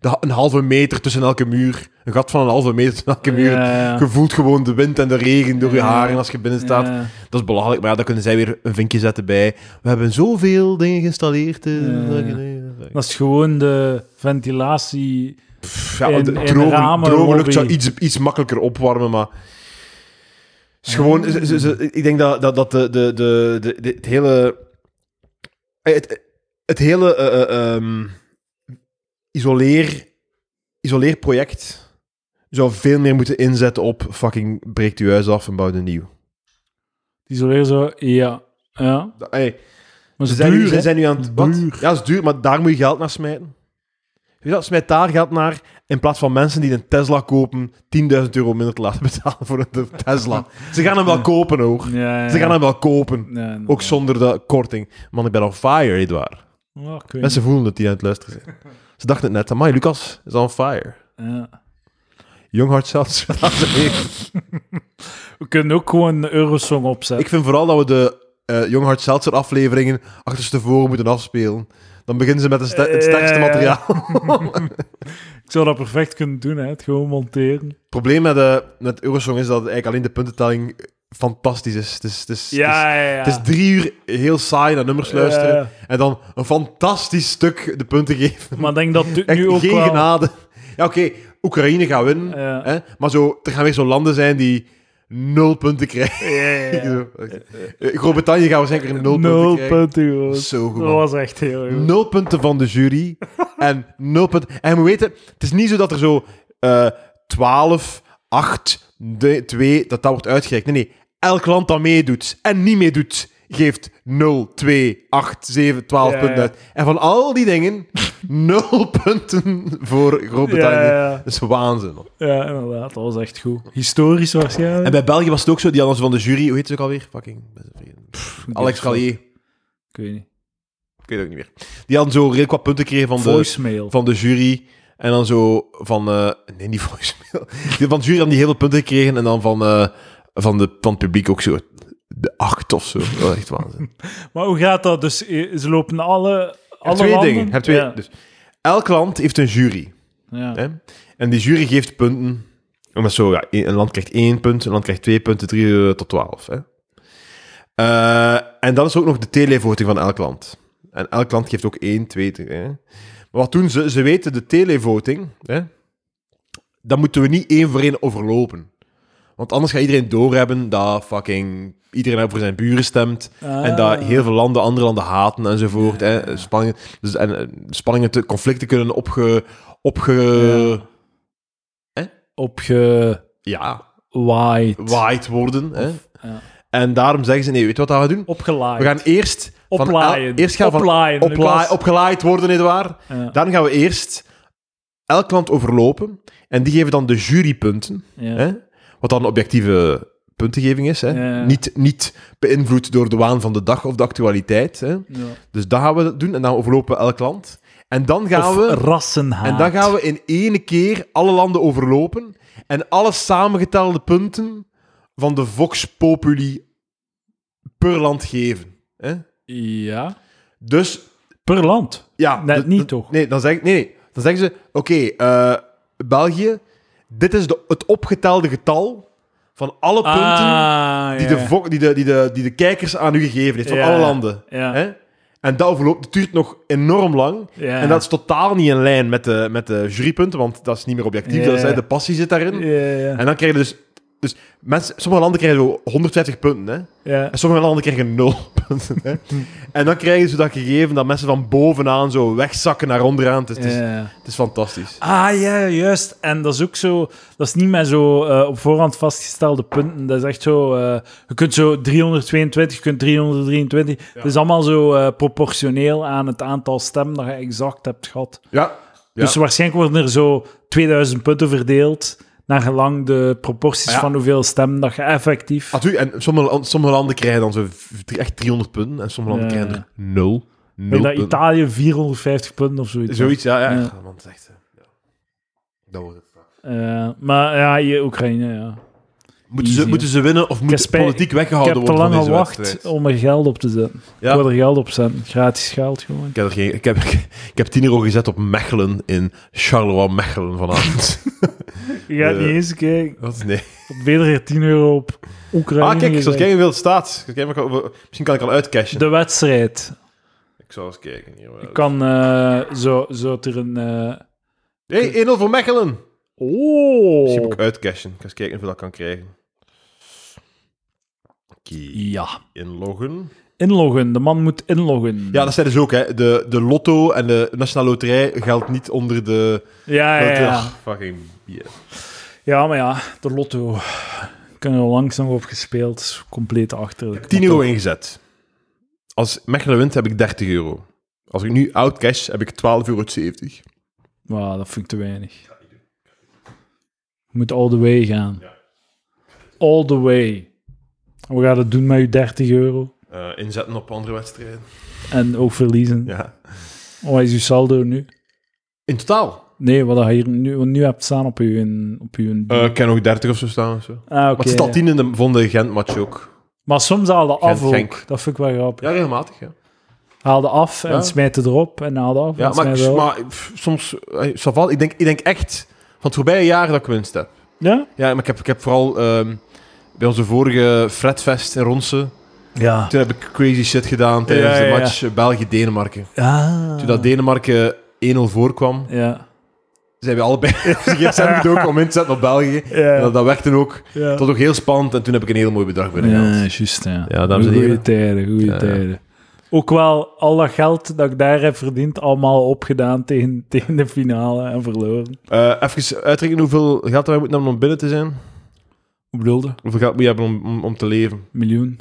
de- een halve meter tussen elke muur. Een gat van een halve meter tussen elke muur.
Ja,
Je voelt gewoon de wind en de regen door je
Ja.
haren als je binnen staat.
ja.
Dat is belachelijk, maar ja, daar kunnen zij weer een vinkje zetten bij. We hebben zoveel dingen geïnstalleerd. eh,
Dat is gewoon de ventilatie.
Pff, ja,
in-
de
in
droge,
ramen,
droge lucht zou
lobby.
iets, iets makkelijker opwarmen, maar... Het is gewoon... ze- ze- ze- ik denk dat, dat, dat de, de, de, de, de- het hele... eh, Het, het hele eh, eh, ehm, isoleer, isoleerproject zou veel meer moeten inzetten op fucking breekt uw huis af en bouwt een nieuw.
Isoleren zo, ja. ja.
Da- hey,
Maar
ze
ze
zijn,
duur,
nu, ze
hè?
zijn nu aan het...
Duur.
Wat? Ja, dat is duur, maar daar moet je geld naar smijten. Weet je dat? Smijt daar geld naar in plaats van mensen die een Tesla kopen 10.000 euro minder te laten betalen voor een Tesla. Ze gaan hem wel kopen, hoor.
Ja, ja,
Ze gaan hem wel kopen.
ja. Ja,
Ook zonder de korting. Man, ik ben on fire, Edouard.
Ja, ik weet
Mensen voelen dat die aan het luisteren zijn. Ze dachten het net. Amai, Lucas is on fire.
niet. Ja.
Jong hart zelfs.
We kunnen ook gewoon een Eurosong opzetten.
Ik vind vooral dat we de eh Jong Hart Seltzer afleveringen achterstevoren moeten afspelen. Dan beginnen ze met het, sta- het sterkste
Eh.
materiaal.
Ik zou dat perfect kunnen doen, hè. Het gewoon monteren.
Het probleem met, eh, met Eurosong is dat het eigenlijk alleen de puntentelling fantastisch is. Het is, het is, het is,
Ja, ja, ja.
het is drie uur heel saai naar nummers luisteren
Ja.
en dan een fantastisch stuk de punten geven.
Maar ik denk dat dit
Echt
nu ook
geen
wel...
genade. Ja, oké, Oekraïne gaat winnen.
Ja.
Hè? Maar zo, er gaan weer zo landen zijn die nul punten krijgen.
Ja, ja, ja.
Zo. Eh, Groot-Brittannië gaat waarschijnlijk weer nul, punten
Nul
krijgen.
punten, Oh, joh.
Dat is Zo goed.
Dat
man.
was echt heel goed.
Nul punten van de jury. en nul punten. En je moet weten, het is niet zo dat er zo eh 12, 8, 2, dat dat wordt uitgereikt. Nee, nee. Elk land dat meedoet en niet meedoet, geeft 0, 2, 8, 7, 12
Ja,
punten
ja.
uit. En van al die dingen, 0 punten voor Groot-Brittannië.
Ja, ja,
Dat is waanzin. man.
ja. Ja, inderdaad. Dat was echt goed. Historisch waarschijnlijk.
En bij België was het ook zo, die hadden ze van de jury, hoe heet ze ook alweer? Fucking, ik ben zo vergeten. Alex Gallier.
Ik weet niet.
Ik weet het ook niet meer. Die hadden zo redelijk wat punten gekregen van de...
Voicemail.
van de jury. En dan zo van... eh, nee, niet voicemail. Die Van de jury hadden die heel veel punten gekregen. En dan van, eh, van, de, van het publiek ook zo... De acht of zo. Dat is echt waanzin.
Maar hoe gaat dat? Dus eh, ze lopen alle,
Je hebt
alle
twee
landen?
dingen. Je hebt twee,
Ja.
dus, elk land heeft een jury.
Ja.
Hè? En die jury geeft punten. Omdat zo, ja, een een land krijgt één punt, een land krijgt twee punten, drie eh, tot twaalf. Hè? Eh, en dan is er ook nog de televoting van elk land. En elk land geeft ook één, twee, drie. Hè? Maar wat doen ze? Ze weten de televoting. Hè? Dat moeten we niet één voor één overlopen. Want anders gaat iedereen doorhebben dat fucking iedereen voor zijn buren stemt.
Ah.
En dat heel veel landen andere landen haten enzovoort. Hè? Spanningen, dus, en eh, spanningen, te, conflicten kunnen opge... opge
Opgewaaid.
ja, waaid worden. Hè?
ja.
En daarom zeggen ze, nee, weet je wat dat we doen?
Opgelaaid.
We gaan eerst... van
Oplaaien.
el- eerst gaan we van
Oplaaien,
opla-
Lucas.
opgelaaid worden, nietwaar?
Ja.
Dan gaan we eerst elk land overlopen. En die geven dan de jurypunten.
Ja.
Hè? Wat dan objectieve puntengeving is. Hè?
Ja, ja.
Niet, niet beïnvloed door de waan van de dag of de actualiteit. Hè?
Ja.
Dus dat gaan we doen. En dan overlopen we elk land. En dan gaan
Of
we...
rassenhaat.
En dan gaan we in één keer alle landen overlopen en alle samengetelde punten van de Vox Populi per land geven. Hè?
Ja.
Dus
Per land.
ja.
Net
dat-
niet,
dat-
toch?
Nee, dan zeggen nee, nee, dan zeggen ze: oké, eh, België, dit is de, het opgetelde getal van alle punten
Ah,
die,
ja.
de Vox- die, de, die, de, die de kijkers aan u gegeven heeft, van
Ja.
alle landen.
Ja.
Hè? En dat overloopt, dat duurt nog enorm lang.
Ja.
En dat is totaal niet in lijn met de, met de jurypunten, want dat is niet meer objectief.
Ja.
Dat is, hè, de passie zit daarin.
Ja, ja,
En dan krijg je dus... dus mensen, sommige landen krijgen zo 150 punten, hè.
ja.
En sommige landen krijgen 0 punten, hè.
Hm.
En dan krijgen ze dat gegeven dat mensen van bovenaan zo wegzakken naar onderaan. Het is, het is,
Ja.
het is fantastisch.
Ah ja, juist. En dat is ook zo. Dat is niet meer zo eh, op voorhand vastgestelde punten. Dat is echt zo. eh, je kunt zo 322, je kunt 323. Het is allemaal zo eh, proportioneel aan het aantal stemmen dat je exact hebt gehad.
Ja. Ja.
Dus waarschijnlijk worden er zo 2000 punten verdeeld. Naar gelang de proporties
Ah, Ja. Ah,
van hoeveel stemmen dat je effectief.
Natuurlijk, en sommige, land- sommige landen krijgen dan zo v- drie- echt 300 punten. En sommige landen
Ja.
krijgen er 0.
Ik
0
denk dat Italië 450 punten of zoiets.
Zoiets, ja. ja.
Ja.
ja. Man, het is echt, eh, ja. Dat wordt het.
Eh, maar ja, hier Oekraïne. Ja.
Moeten
Easy,
ze,
hè.
moeten ze winnen of moet
heb
het
spijt-
politiek
Ik
weggehouden
heb te
worden
lang
van deze
gewacht
wedstrijd?
om er geld op te zetten.
Ja.
Ik wil er geld op zetten. Gratis geld gewoon.
Ik heb, er geen- ik, heb, ik heb 10 euro gezet op Mechelen in Charleroi-Mechelen vanavond.
Je gaat
Eh,
niet eens kijken.
Wat? Nee.
Op beter 10 euro op Oekraïne.
Ah, kijk, ik zal eens
gezet.
kijken hoeveel het staat. Ik zal kijken of ik al- Misschien kan ik al uitcashen.
De wedstrijd.
Ik zal eens kijken. Hier,
Ik kan eh, zo, zo er een. eh,
Hey, 1-0 voor Mechelen. Misschien
Oh!
moet ik uitcashen. Ik ga eens kijken hoeveel ik kan krijgen. Oké,
Ja.
inloggen.
Inloggen. De man moet inloggen.
Ja, dat zijn dus ook, hè. De, de lotto en de nationale loterij geldt niet onder de...
ja, ja, ja.
Ach, fucking... yeah.
Ja, maar ja, de lotto. Ik heb er langs nog op gespeeld. Compleet achterlijk.
10 euro ingezet. Als Mechelen wint, heb ik 30 euro. Als ik nu out cash, heb ik 12,70 euro.
Maar dat vind ik te weinig. Je moet all the way gaan. All the way. En we gaan het doen met je 30 euro.
Eh, inzetten op andere wedstrijden.
En ook verliezen.
Ja.
Wat is uw saldo nu?
In totaal?
Nee, wat je hier nu, wat nu hebt staan op je... Op uw
Eh, ik kan ook 30 of zo staan. Of zo.
ah,
Maar
oké.
het staat 10 in de, van de Gent-match ook.
Maar soms haalde af ook.
Genk.
Dat vind ik wel grappig.
Ja, regelmatig, ja.
Haalde af en
Ja.
smijt het erop en haalde af
Ja,
en smijt
maar,
erop.
maar pff, soms... eh, ça va. Ik denk, ik denk echt van het voorbije jaar dat ik winst heb.
Ja?
Ja, maar ik heb, ik heb vooral ehm, bij onze vorige Fredfest in Ronsen...
Ja.
Toen heb ik crazy shit gedaan tijdens
Ja, ja,
de
ja.
match eh, België-Denemarken.
Ah.
Toen dat Denemarken 1-0 voorkwam,
Ja.
zijn we allebei zijn ook om in te zetten op België. En
Ja.
dat, dat werkte ook.
ja.
Dat was ook heel spannend en toen heb ik een heel mooi bedrag binnengehaald.
Ja, juist. Ja.
Ja, dames en
Goeie
heren.
tijden, goede
Ja, ja.
tijden. Ook wel al dat geld dat ik daar heb verdiend, allemaal opgedaan tegen, tegen de finale en verloren.
Eh, even uitrekenen hoeveel geld wij moeten hebben om binnen te zijn.
Hoe bedoelde?
Hoeveel geld moet je hebben om, om, om te leven? Een
Miljoen.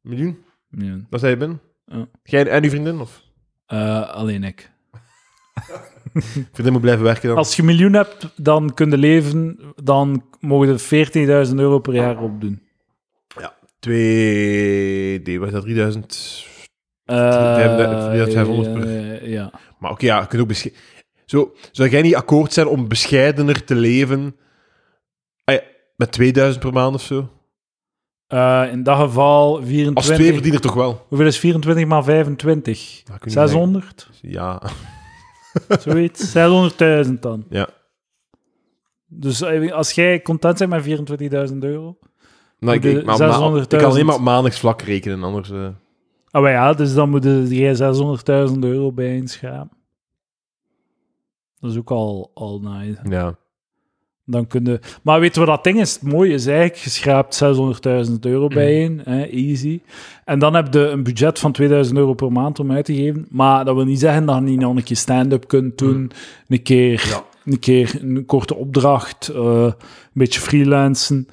miljoen?
Miljoen.
Dat zijn je binnen?
Ja.
Jij en uw vriendin? Of?
Eh, alleen ik.
Vriendin moet blijven werken dan.
Als je een miljoen hebt, dan kun je leven, dan mogen je 14.000 euro per jaar opdoen.
Twee... Nee, wat is dat? 3000...
Eh,
3500 per-
eh, ja.
Maar oké, ja, je kunt ook besche- Zo, zou jij niet akkoord zijn om bescheidener te leven ah ja, met 2000 per maand of zo?
Eh, in dat geval 24.
Als twee verdiener toch wel?
Hoeveel is 24 maar 25?
Ja, ik weet niet
600?
of ik- Ja.
Zoiets. 600.000 dan.
Ja.
Dus eh, als jij content bent met 24.000 euro.
Nou, ik, ik, maar ma-
600.000.
ik kan alleen maar op maandelijks vlak rekenen, anders... eh.
Ah, maar ja, dus dan moet je- jij 600.000 euro bij inschrapen. Dat is ook al, al nice.
ja.
Dan kun je, maar weet je wat dat ding is? Het mooie is eigenlijk, je schraapt 600.000
Mhm.
euro bijeen, hè, easy. En dan heb je een budget van 2000 euro per maand om uit te geven. Maar dat wil niet zeggen dat je niet nog een keer stand-up kunt doen, een, keer,
Mhm. Ja.
een keer een korte opdracht, eh, een beetje freelancen.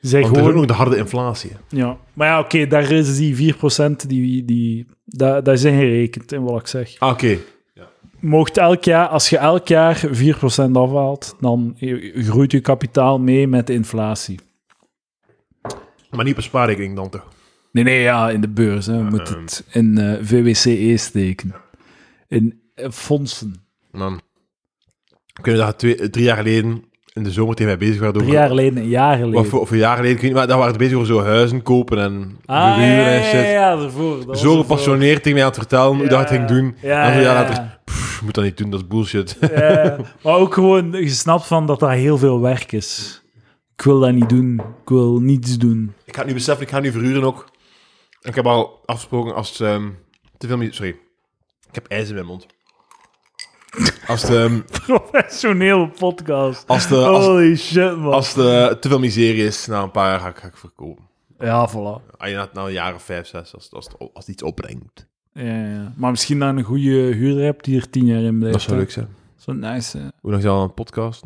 Zeg
Want er is ook
gewoon,
nog de harde inflatie. hè.
ja. Maar ja, oké, daar is die 4% die, die, dat, dat is ingerekend in wat ik zeg.
Ah, oké.
Mocht elk jaar, als je elk jaar 4% afhaalt, dan groeit je kapitaal mee met de inflatie.
Maar niet per spaarrekening dan toch?
Nee, nee, ja, in de beurs. Hè. We moeten
ehm.
het in eh, VWCE steken. In eh, fondsen.
Man. Ik weet dat twee, drie jaar geleden in de zomer tegen mij bezig waren.
Drie
over-
jaar geleden, een jaar geleden.
Of, of een jaar geleden, ik weet niet, maar daar waren we bezig over zo huizen kopen en
ah, ja,
verhuren
ja,
en
ja,
shit.
ja, ja, daarvoor. Dat was
zo
ervoor.
gepassioneerd tegen mij aan het vertellen hoe dat het ging doen.
Ja,
en dan een jaar
ja,
later, pff, je moet dat niet doen, dat is bullshit.
ja. maar ook gewoon gesnapt van dat daar heel veel werk is. Ik wil dat niet doen. Ik wil niets doen.
ik ga het nu beseffen, ik ga nu verhuren ook. Ik heb al afgesproken als het, ehm, te veel... mi- Sorry, ik heb ijs in mijn mond. Als het, ehm,
Professionele podcast.
als de, als,
Holy shit, man.
als de te veel miserie is, na een paar jaar ga ik, ga ik verkopen.
Ja, voilà.
Ah, ja, na een jaar of vijf, zes, als, als, het- als het iets opbrengt.
Ja, ja. Maar misschien dan een goede huurder hebt die er tien jaar in blijft.
Dat zou
hè.
leuk zijn.
Zo nice. hè.
Hoe lang is al een podcast?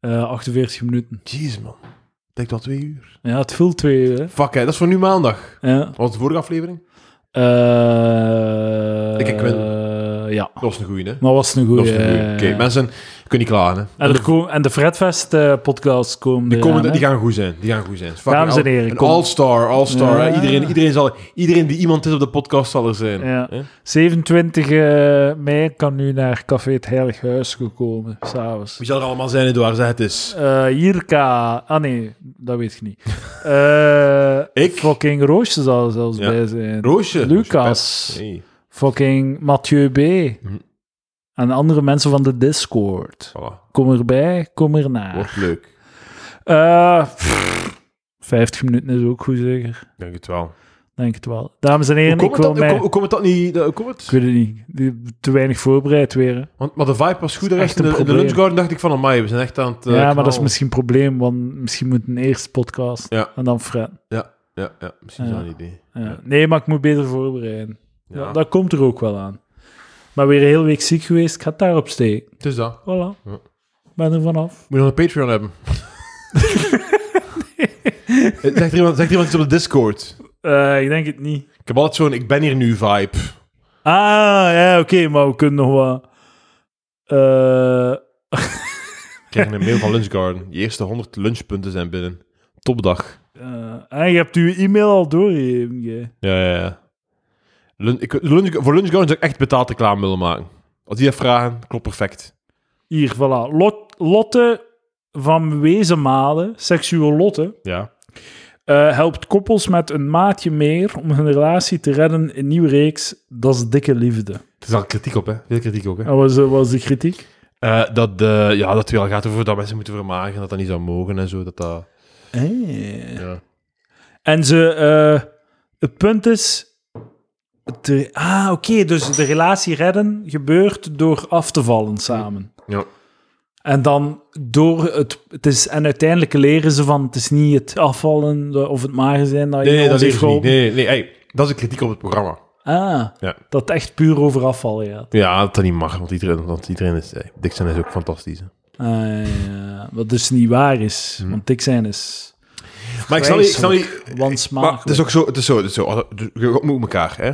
Eh, 48 minuten.
Jeez, man. Het lijkt wel twee uur.
Ja, het voelt twee uur. hè.
Fuck, hè, dat is voor nu maandag.
Ja.
Wat was de vorige aflevering?
Eh,
Ik- ik wil-
eh, ja,
Dat was een goeie, hè?
maar was een goede.
Dat is een goeie. Oké, mensen, je kunt niet klagen. Hè.
en, er komen- en de Fredfest eh podcasts komen
Die,
eraan,
komen,
hè.
die gaan goed zijn. Die gaan goed zijn. Fucking
Dames en
al-
heren,
Een
kom.
all-star, all-star.
Ja.
hè. Iedereen, iedereen, zal, iedereen die iemand is op de podcast zal er zijn.
Ja.
hè.
27 eh, mei kan nu naar Café het Heilig Huis gekomen, s'avonds.
Wie zal er allemaal zijn, Edouard? Zeg het eens.
Eh Jirka, ah nee, dat weet ik niet. Eh,
Ik?
Fucking Roosje zal er zelfs
Ja.
bij zijn.
Roosje.
Lucas.
Roosje Pep. Hey,
Fucking Mathieu B.
Mhm.
En andere mensen van de Discord.
voilà.
Kom erbij, kom erna.
Wordt leuk.
Eh, pff, 50 minuten is ook goed, zeker.
Denk het wel.
Denk het wel. Dames en heren,
Hoe
ik
komt,
wil
dat, hoe,
mij...
komt- hoe komt het dat niet? dat- Hoe komt
Ik
het?
weet het niet. Die- Te weinig voorbereid weer. hè.
Want, maar de vibe was goed. De
is
rest
echt
in
een
de, in de
probleem.
lunchgarden dacht ik van, amai, we zijn echt aan het... eh,
ja, maar dat is
knallen.
misschien een probleem, want misschien moet een eerste podcast
Ja.
en dan Fred.
Ja. ja, ja, misschien is
Ja.
dat een idee.
Ja. Nee, maar ik moet beter voorbereiden.
Ja,
Dat, dat komt er ook wel aan. Maar weer een hele week ziek geweest, ik ga het daarop steken.
Het is dat.
Voilà.
Ja.
Ben er vanaf.
Moet je nog een Patreon hebben? Eh, zegt, er iemand, zegt er iemand iets op de Discord?
Eh, ik denk het niet.
Ik heb altijd zo'n ik ben hier nu vibe.
Ah, ja, oké, maar we kunnen nog wat... Eh,
Ik krijg een mail van Lunchgarden. Je eerste 100 lunchpunten zijn binnen. Topdag.
eh, ah, je hebt uw e-mail al doorgegeven. jij.
Ja, ja, ja. Lun- ik, lunch, voor Lunchgarden zou ik echt betaald reclame willen maken. Als die dat vragen, klopt perfect.
Hier, voilà. Lot- Lotte van Wezenmalen, seksueel Lotte,
Ja.
eh, helpt koppels met een maatje meer om hun relatie te redden in nieuwe reeks Dat is dikke liefde.
Er is al kritiek op, hè? Veel kritiek ook, hè?
Dat was, eh, was de kritiek.
Eh, dat, eh ja, dat het wel gaat over dat mensen moeten vermagen, dat dat niet zou mogen en zo. Dat dat, ja.
En ze, eh, het punt is. de- ah, oké, dus de relatie redden gebeurt door af te vallen samen.
Ja.
En dan door het, het is, en uiteindelijk leren ze van het is niet het afvallen eh, of het mager zijn dat je
Nee, nee, dat
ons
is
heeft
niet.
geholpen.
Nee, nee, nee, hey, dat is een kritiek op het programma.
Ah,
Ja.
dat het echt puur over afval gaat.
Ja, dat dat niet mag, want iedereen, want iedereen is... Hey, Dick zijn is ook fantastisch. hè.
Ah, ja, wat dus niet waar is, want dik zijn dus is
Maar ik snap niet... Hm. Eh, Ik snap niet maar
wansmakelijk.
het is ook zo... Het is zo, het is zo je ontmoet elkaar, hè?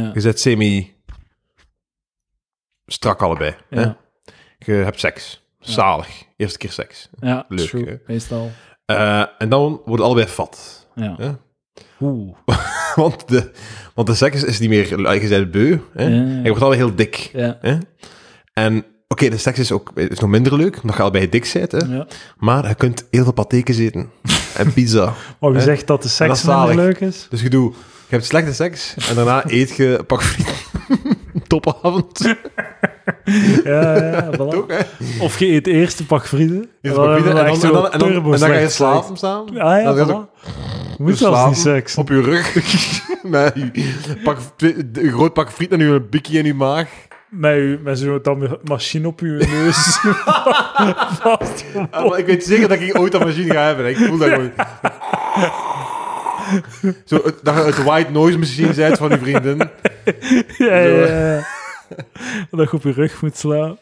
Ja.
Je zet semi... Strak allebei. Hè?
Ja.
Je hebt seks. Zalig. Eerste keer seks.
Ja,
Leuk,
true,
hè?
meestal.
Eh, en dan worden allebei fat.
Ja.
Ja.
Oeh.
want, de, want de seks is niet meer... eh, Je bent beu. Hè?
Ja.
En je wordt allebei heel dik.
Ja.
Hè? En oké, de seks is ook is nog minder leuk, omdat je allebei dik bent. Hè?
Ja.
Maar je kunt heel veel pateken eten en pizza.
Maar wie
Hè?
zegt dat de
En dat
seks
is zalig.
minder leuk is?
Dus je doet, je hebt slechte seks en daarna eet je een pak friet. Topavond.
Ja, ja, voilà.
Ook, hè?
Of je eet eerst een pak vrienden.
Je eet een pak friet en dan, en, dan, en, dan, en dan ga je slapen samen.
Ah, Ja, ja,
Dan ga je
voilà.
zo
Je Moet zelfs
slapen
niet seks.
Op je rug. Met je pak, een groot pak friet en je bikkie in je maag.
Met, je- met zo'n tam- machine op je neus. Vast.
Ah, maar ik weet zeker dat ik ooit dat machine ga hebben. hè. Ik voel dat gewoon. Zo, het- dat je het white noise machine zijt van je vrienden.
ja, ja, ja. Dat je op je rug moet slaan.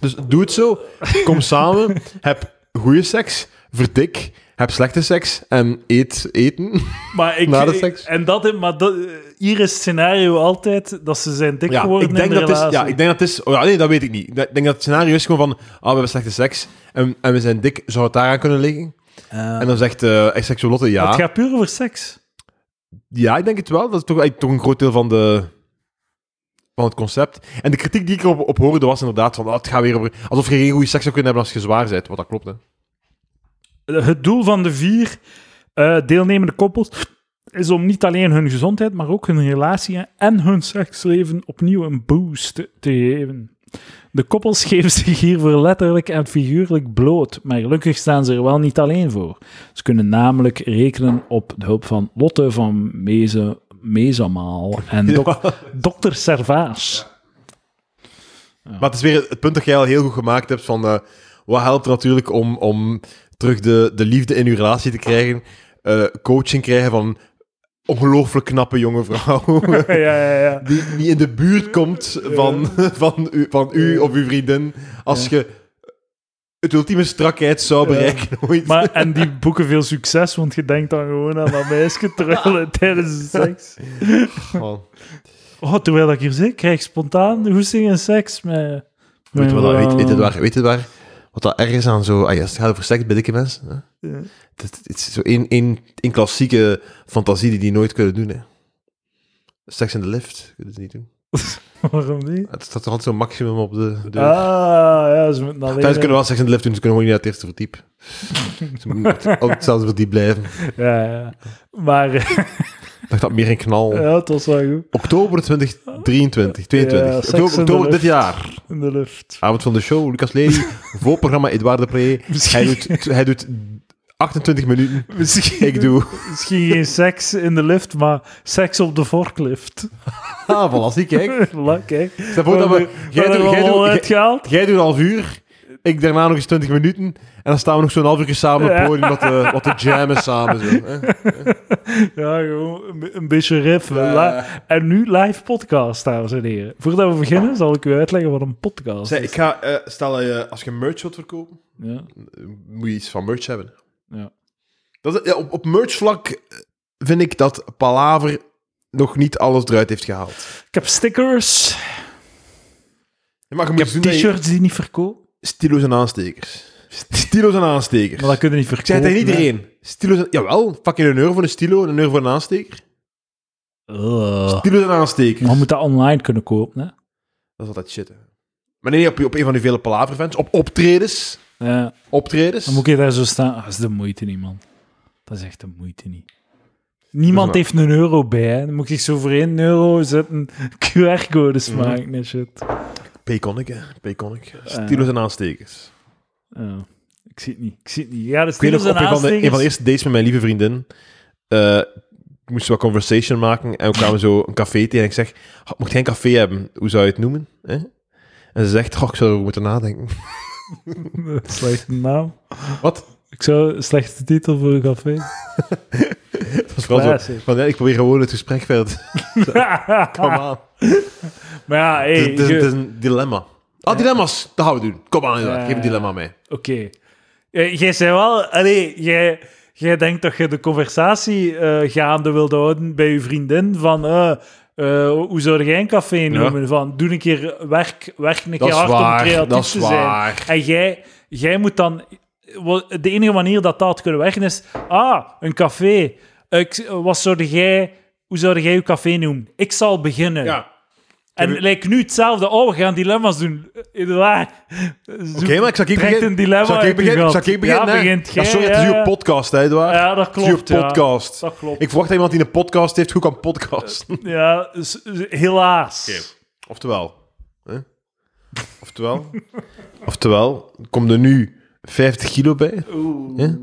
Dus doe het zo. Kom samen. Heb goede seks. Verdik. Heb slechte seks. En eet eten.
Maar ik,
Na de
ik-
seks.
En dat, maar dat, hier is het scenario altijd dat ze zijn dik
Ja,
geworden
ik denk
in de
dat het is.
relatie.
Ja, ik denk dat het is. Oh, ja, nee, dat weet ik niet. Ik denk dat het scenario is gewoon van. Ah, we hebben slechte seks. En, en we zijn dik. Zou het daaraan kunnen liggen?
Eh,
En dan zegt eh Sexolotte ja.
Het gaat puur over seks.
Ja, ik denk het wel. Dat is toch, eigenlijk toch een groot deel van, de, van het concept. En de kritiek die ik erop op hoorde was inderdaad van... ah, het gaat weer over... Alsof je geen goede seks zou kunnen hebben als je zwaar bent. Wat dat klopt, hè.
Het doel van de vier eh, deelnemende koppels is om niet alleen hun gezondheid, maar ook hun relatie en hun seksleven opnieuw een boost te, te geven. De koppels geven zich hiervoor letterlijk en figuurlijk bloot, maar gelukkig staan ze er wel niet alleen voor. Ze kunnen namelijk rekenen op de hulp van Lotte van Meze, Mezamaal en dok- dokter Servaas.
Maar het is weer het punt dat jij al heel goed gemaakt hebt van... eh, wat helpt er natuurlijk om, om terug de, de liefde in je relatie te krijgen? Eh, coaching krijgen van ongelooflijk knappe jonge vrouwen.
Ja, ja, ja.
die, die in de buurt komt van, van, u, van u of uw vriendin. Als je het ultieme strakheid zou bereiken ooit.
Maar, en die boeken veel succes, want je denkt dan gewoon aan dat meisje terwijl tijdens de seks.
Man.
Oh, terwijl ik hier zit, krijg ik spontaan hoesting en seks met...
Weet
met-
je wat dat- weet, weet het waar, weet het waar? Wat dat erg is aan zo... Ah ja, het gaat over seks bij dikke mensen. Hè?
Ja.
Het, het is zo één, één, één klassieke fantasie die die nooit kunnen doen. Hè? Seks in de lift kunnen ze niet doen.
Waarom niet?
Het staat toch altijd zo'n maximum op de deur.
Ah, ja, ze moeten alleen...
Thuis kunnen we wel seks in de lift doen, ze kunnen gewoon niet naar het eerste verdiep. ze moeten op hetzelfde verdiep blijven.
Ja, ja. Maar eh,
Ik dacht dat meer een knal...
ja, het was wel goed.
Oktober 2023, 22.
Ja, seks in
oktober
de
oktober dit
lift.
jaar.
In de lucht.
Avond van de show, Lucas Lely, voorprogramma Edouard de Pre. Hij
Misschien,
doet, hij doet 28 minuten.
misschien,
Ik doe...
misschien geen seks in de lift, maar seks op de forklift.
Ah, voilà, zie, kijk.
Voilà, kijk.
Stel voor dat we... Jij
Jij
doet, jij, doet, jij,
uitgehaald.
jij doet een half uur. Ik daarna nog eens 20 minuten. En dan staan we nog zo'n half uur samen op het
Ja.
podium. Wat de, wat de jam is samen. Zo. hè.
Ja, gewoon een, be- een beetje riff.
Ja.
La- En nu live podcast, dames en heren. Voordat we beginnen, zal ik u uitleggen wat een podcast
Zeg,
is.
ik ga, eh, stel dat je, als je merch wilt verkopen,
Ja.
eh, moet je iets van merch hebben.
Ja.
Dat is- ja, op, op merchvlak eh, vind ik dat Palaver nog niet alles eruit heeft gehaald.
Ik heb stickers,
Ja, maar je
ik
moet
heb
doen dat je-
t-shirts die niet verkoop.
Stilo's en aanstekers. Stilo's en aanstekers.
Maar dat kun je niet
Ik zei
verkopen.
het tegen
hè.
iedereen. Stilo's en... Jawel, pak je een euro voor een stilo en een euro voor een aansteker.
Ugh.
Stilo's en aanstekers.
Ah. Maar je moet dat online kunnen kopen, hè.
Dat is altijd shit, hè. Maar nee, op, op een van die vele palaver Op optredens.
Ja,
Optredens.
dan moet je daar zo staan. Ah, Dat is de moeite niet, man. Dat is echt de moeite niet. Niemand
Dat
heeft een euro bij, hè. Dan moet ik zo voor 1 euro zetten QR-codes
Mhm.
maken en shit.
Payconic, hè. Payconic.
Eh.
Stilo's en aanstekers.
Ja. Ik zie het niet. Ik zie het niet. Ja, de
Ik weet
stickers
nog, op
zijn
een van, de, een van de
aanstekers.
eerste dates met mijn lieve vriendin... eh ik moest wat conversation maken en we kwamen zo een café tegen. En ik zeg, "Ah, mocht jij een café hebben, hoe zou je het noemen? hè?" En ze zegt, "Goh, ik zou erover moeten nadenken.
Slechte naam.
Wat?
Ik zou een slechte titel voor een café.
Dat is vooral zo.
Classic.
Want ja, ik probeer gewoon het gesprek verder te Kom
maar
aan.
ja, Ah, hey,
het, is, het is-
je-
het is een dilemma. Ah, dilemma's. Dat gaan we doen. Kom aan, Eduard. Geef een dilemma mee.
oké. Eh, Jij zei wel, allee, jij, jij denkt dat je de conversatie eh, gaande wilt houden bij je vriendin van eh, eh, hoe zou jij een café noemen? Van doe een keer werk, werk een
Dat
keer
is
hard om
waar.
creatief
Dat is
te zijn.
waar.
En jij, jij moet dan... wel, De enige manier dat dat had kunnen werken is... Ah, een café. Ik, wat zou jij... Hoe zou jij je café noemen? Ik zal beginnen.
Ja.
en lijkt nu hetzelfde. Oh, we gaan dilemma's doen. Inderdaad. Oké,
Oké, maar ik zal ik
Trekt
beginnen.
een dilemma
Zal
uit
ik
je
beginnen?
gat.
Zal ik beginnen?
Ja,
hè?
begint
Ja,
jij,
sorry, het is
ja,
uw
ja.
podcast, hè, Eduard?
Ja, dat
Het is uw
klopt, ja.
podcast.
Dat klopt.
Ik verwacht dat iemand die een podcast heeft goed kan podcasten.
Ja, s- s- helaas.
Oké. Oftewel. Hè? Oftewel. Oftewel, komt er nu 50 kilo bij.
Oeh.
Ja?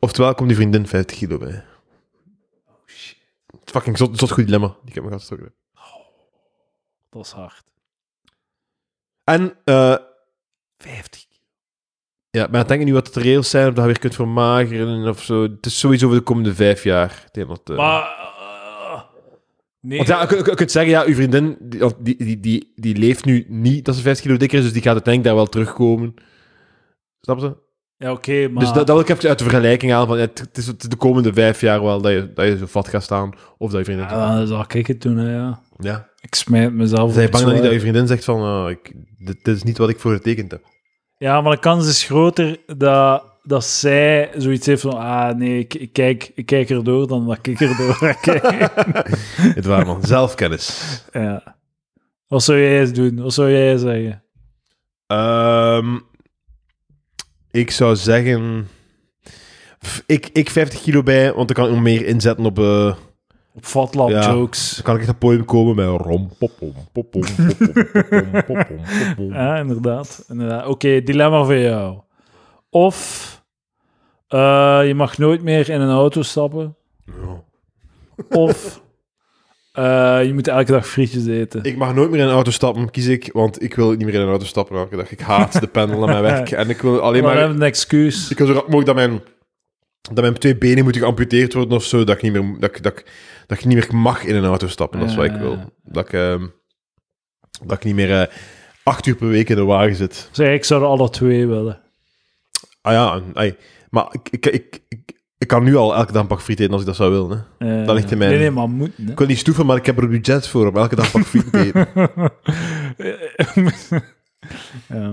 Oftewel, komt die vriendin 50 kilo bij. Oh shit. Fucking zot, zot goed dilemma. Die ik heb me gehad. sorry.
Dat is hard.
En eh,
50
Ja, maar ik denk nu wat het reëels zijn, of dat je weer kunt vermageren of zo. Het is sowieso voor de komende vijf jaar. Ik denk dat, eh,
Maar... eh, nee.
Want ja, je, je- je kunt zeggen, ja, uw vriendin, die, of die, die, die, die leeft nu niet dat ze 50 kilo dikker is, dus die gaat uiteindelijk daar wel terugkomen. Snap je?
Ja, oké, maar...
Dus dat, dat wil ik even uit de vergelijking aan, van ja, het, het is de komende vijf jaar wel dat je, dat je zo vat gaat staan, of dat je vriendin... Ja.
Ja, dan zal ik het doen, hè, ja.
ja.
Ik smijt mezelf.
Zij
op
bang
het
dat niet dat je
zwaard.
vriendin zegt van, eh, ik, dit, dit is niet wat ik voor getekend heb.
Ja, maar de kans is groter dat, dat zij zoiets heeft van... Ah, nee, ik, ik kijk, ik kijk erdoor dan dat ik erdoor ga kijken.
Het waar, man. Zelfkennis.
ja. Wat zou jij eens doen? Wat zou jij zeggen?
Ehm, ik zou zeggen. pff, Ik, ik 50 kilo bij, want dan kan ik nog meer inzetten op. eh,
Op fatlab
Ja.
jokes.
dan kan ik echt op het podium komen met rom. pop, pom, pop, pom, pop, pom, pop, pom, pop, pom, pop, pom.
Ja, inderdaad. inderdaad. Oké, dilemma voor jou. Of eh, je mag nooit meer in een auto stappen.
Ja.
Of eh, je moet elke dag frietjes eten.
Ik mag nooit meer in een auto stappen, kies ik, want ik wil niet meer in een auto stappen elke dag. Ik haat de pendel aan mijn werk en ik wil alleen
maar
maar.
even een excuus.
Ik wil zo rap mogelijk dat mijn, dat mijn twee benen moeten geamputeerd worden of zo, dat ik niet meer, dat ik, dat ik, dat ik niet meer mag in een auto stappen. Dat is wat ik
Ja.
wil. Dat ik, ehm, dat ik niet meer eh, acht uur per week in de wagen zit.
Zeg, ik zou er alle twee willen.
Ah ja, en, ai, maar ik, ik, ik, ik, ik kan nu al elke dag een pak friet eten als ik dat zou willen. Hè.
Eh,
Dat ligt in mijn-
Nee, nee, maar moet. hè.
Ik wil niet stoeven, maar ik heb er een budget voor om elke dag een pak friet te eten.
ja.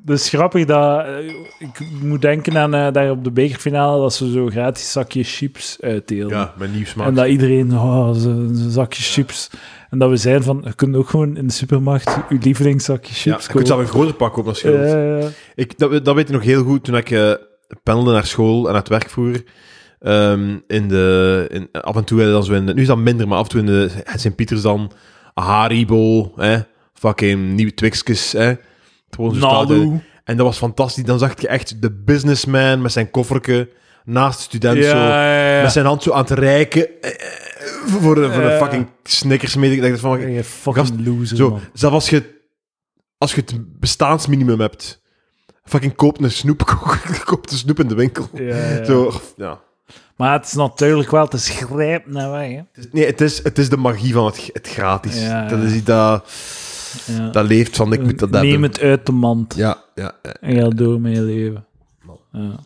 Dat is grappig dat... eh, Ik moet denken aan eh, daar op de bekerfinale dat ze zo gratis zakjes chips uitdelen.
ja, mijn nieuw smaak.
En dat iedereen, oh, zo'n zo'n zakje chips. En dat we zijn van, je kunt ook gewoon in de supermarkt uw lievelingszakje
ja,
chips
ik moet zelf
kopen.
een groter pak kopen als je wilt.
Ja, ja.
Ik, dat, we- dat weet ik nog heel goed toen ik eh pendelde naar school en naar het werk vroeger. Ehm, in de, in, af en toe hadden we dan zo in de- nu is dat minder, maar af en toe in de Sint-Pieters dan Haribo, hè, fucking nieuwe Twixkes, hè. Gewoon zo staat-
Nalu.
En dat was fantastisch. Dan zag je echt de businessman met zijn kofferke naast de student zo,
ja,
met zijn hand zo aan het reiken eh, eh, voor de, voor de
Ja.
fucking Snickers mee. Ik dacht van,
Je fucking loser,
zo,
man.
zelfs als je, als je het bestaansminimum hebt, fucking koop een snoep, koop de snoep in de winkel.
Ja, ja.
Zo, ja.
Maar het is natuurlijk wel te schrijven naar weg. Hè.
Nee, het is, het is de magie van het, het gratis.
Ja, ja.
Dat is iets dat,
Ja.
dat leeft van ik moet dat hebben.
Neem het uit de mand
Ja, ja, ja.
en ga door met je leven.
Man.
Ja,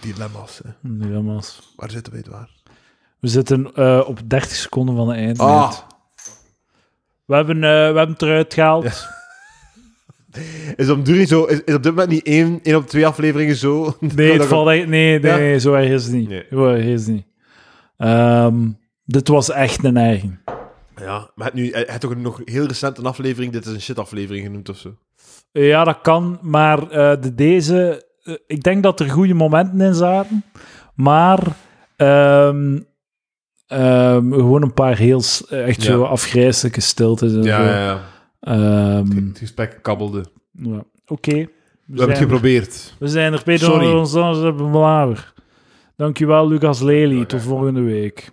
dilemma's. Hè.
dilemma's.
Waar zitten we het waar?
We zitten eh, op 30 seconden van de eind.
Ah.
We, hebben, eh, we hebben het eruit gehaald.
Is op, duur niet zo, is, is op dit moment niet één, één op twee afleveringen zo?
Nee, het
Dat-
valt echt, nee, nee,
Ja?
nee, zo erg is het niet.
Nee.
Zo erg is het niet. Ehm, dit was echt een eigen.
Ja, maar het nu, hij heeft toch nog heel recent een aflevering, dit is een shit-aflevering genoemd of zo.
Ja, dat kan, maar eh, de, deze... eh, ik denk dat er goede momenten in zaten, maar ehm, ehm, gewoon een paar heel s- eh, echt
Ja.
zo afgrijzelijke stiltes en zo.
ja.
Ehm,
gesprek kabbelde. Hmm. We
ja. Oké, we,
hebben het
zijn er.
geprobeerd.
we zijn er. Peter
Sorry.
Sorry. Ons, ons, ons, Dankjewel, Lucas Lely. Tot volgende week.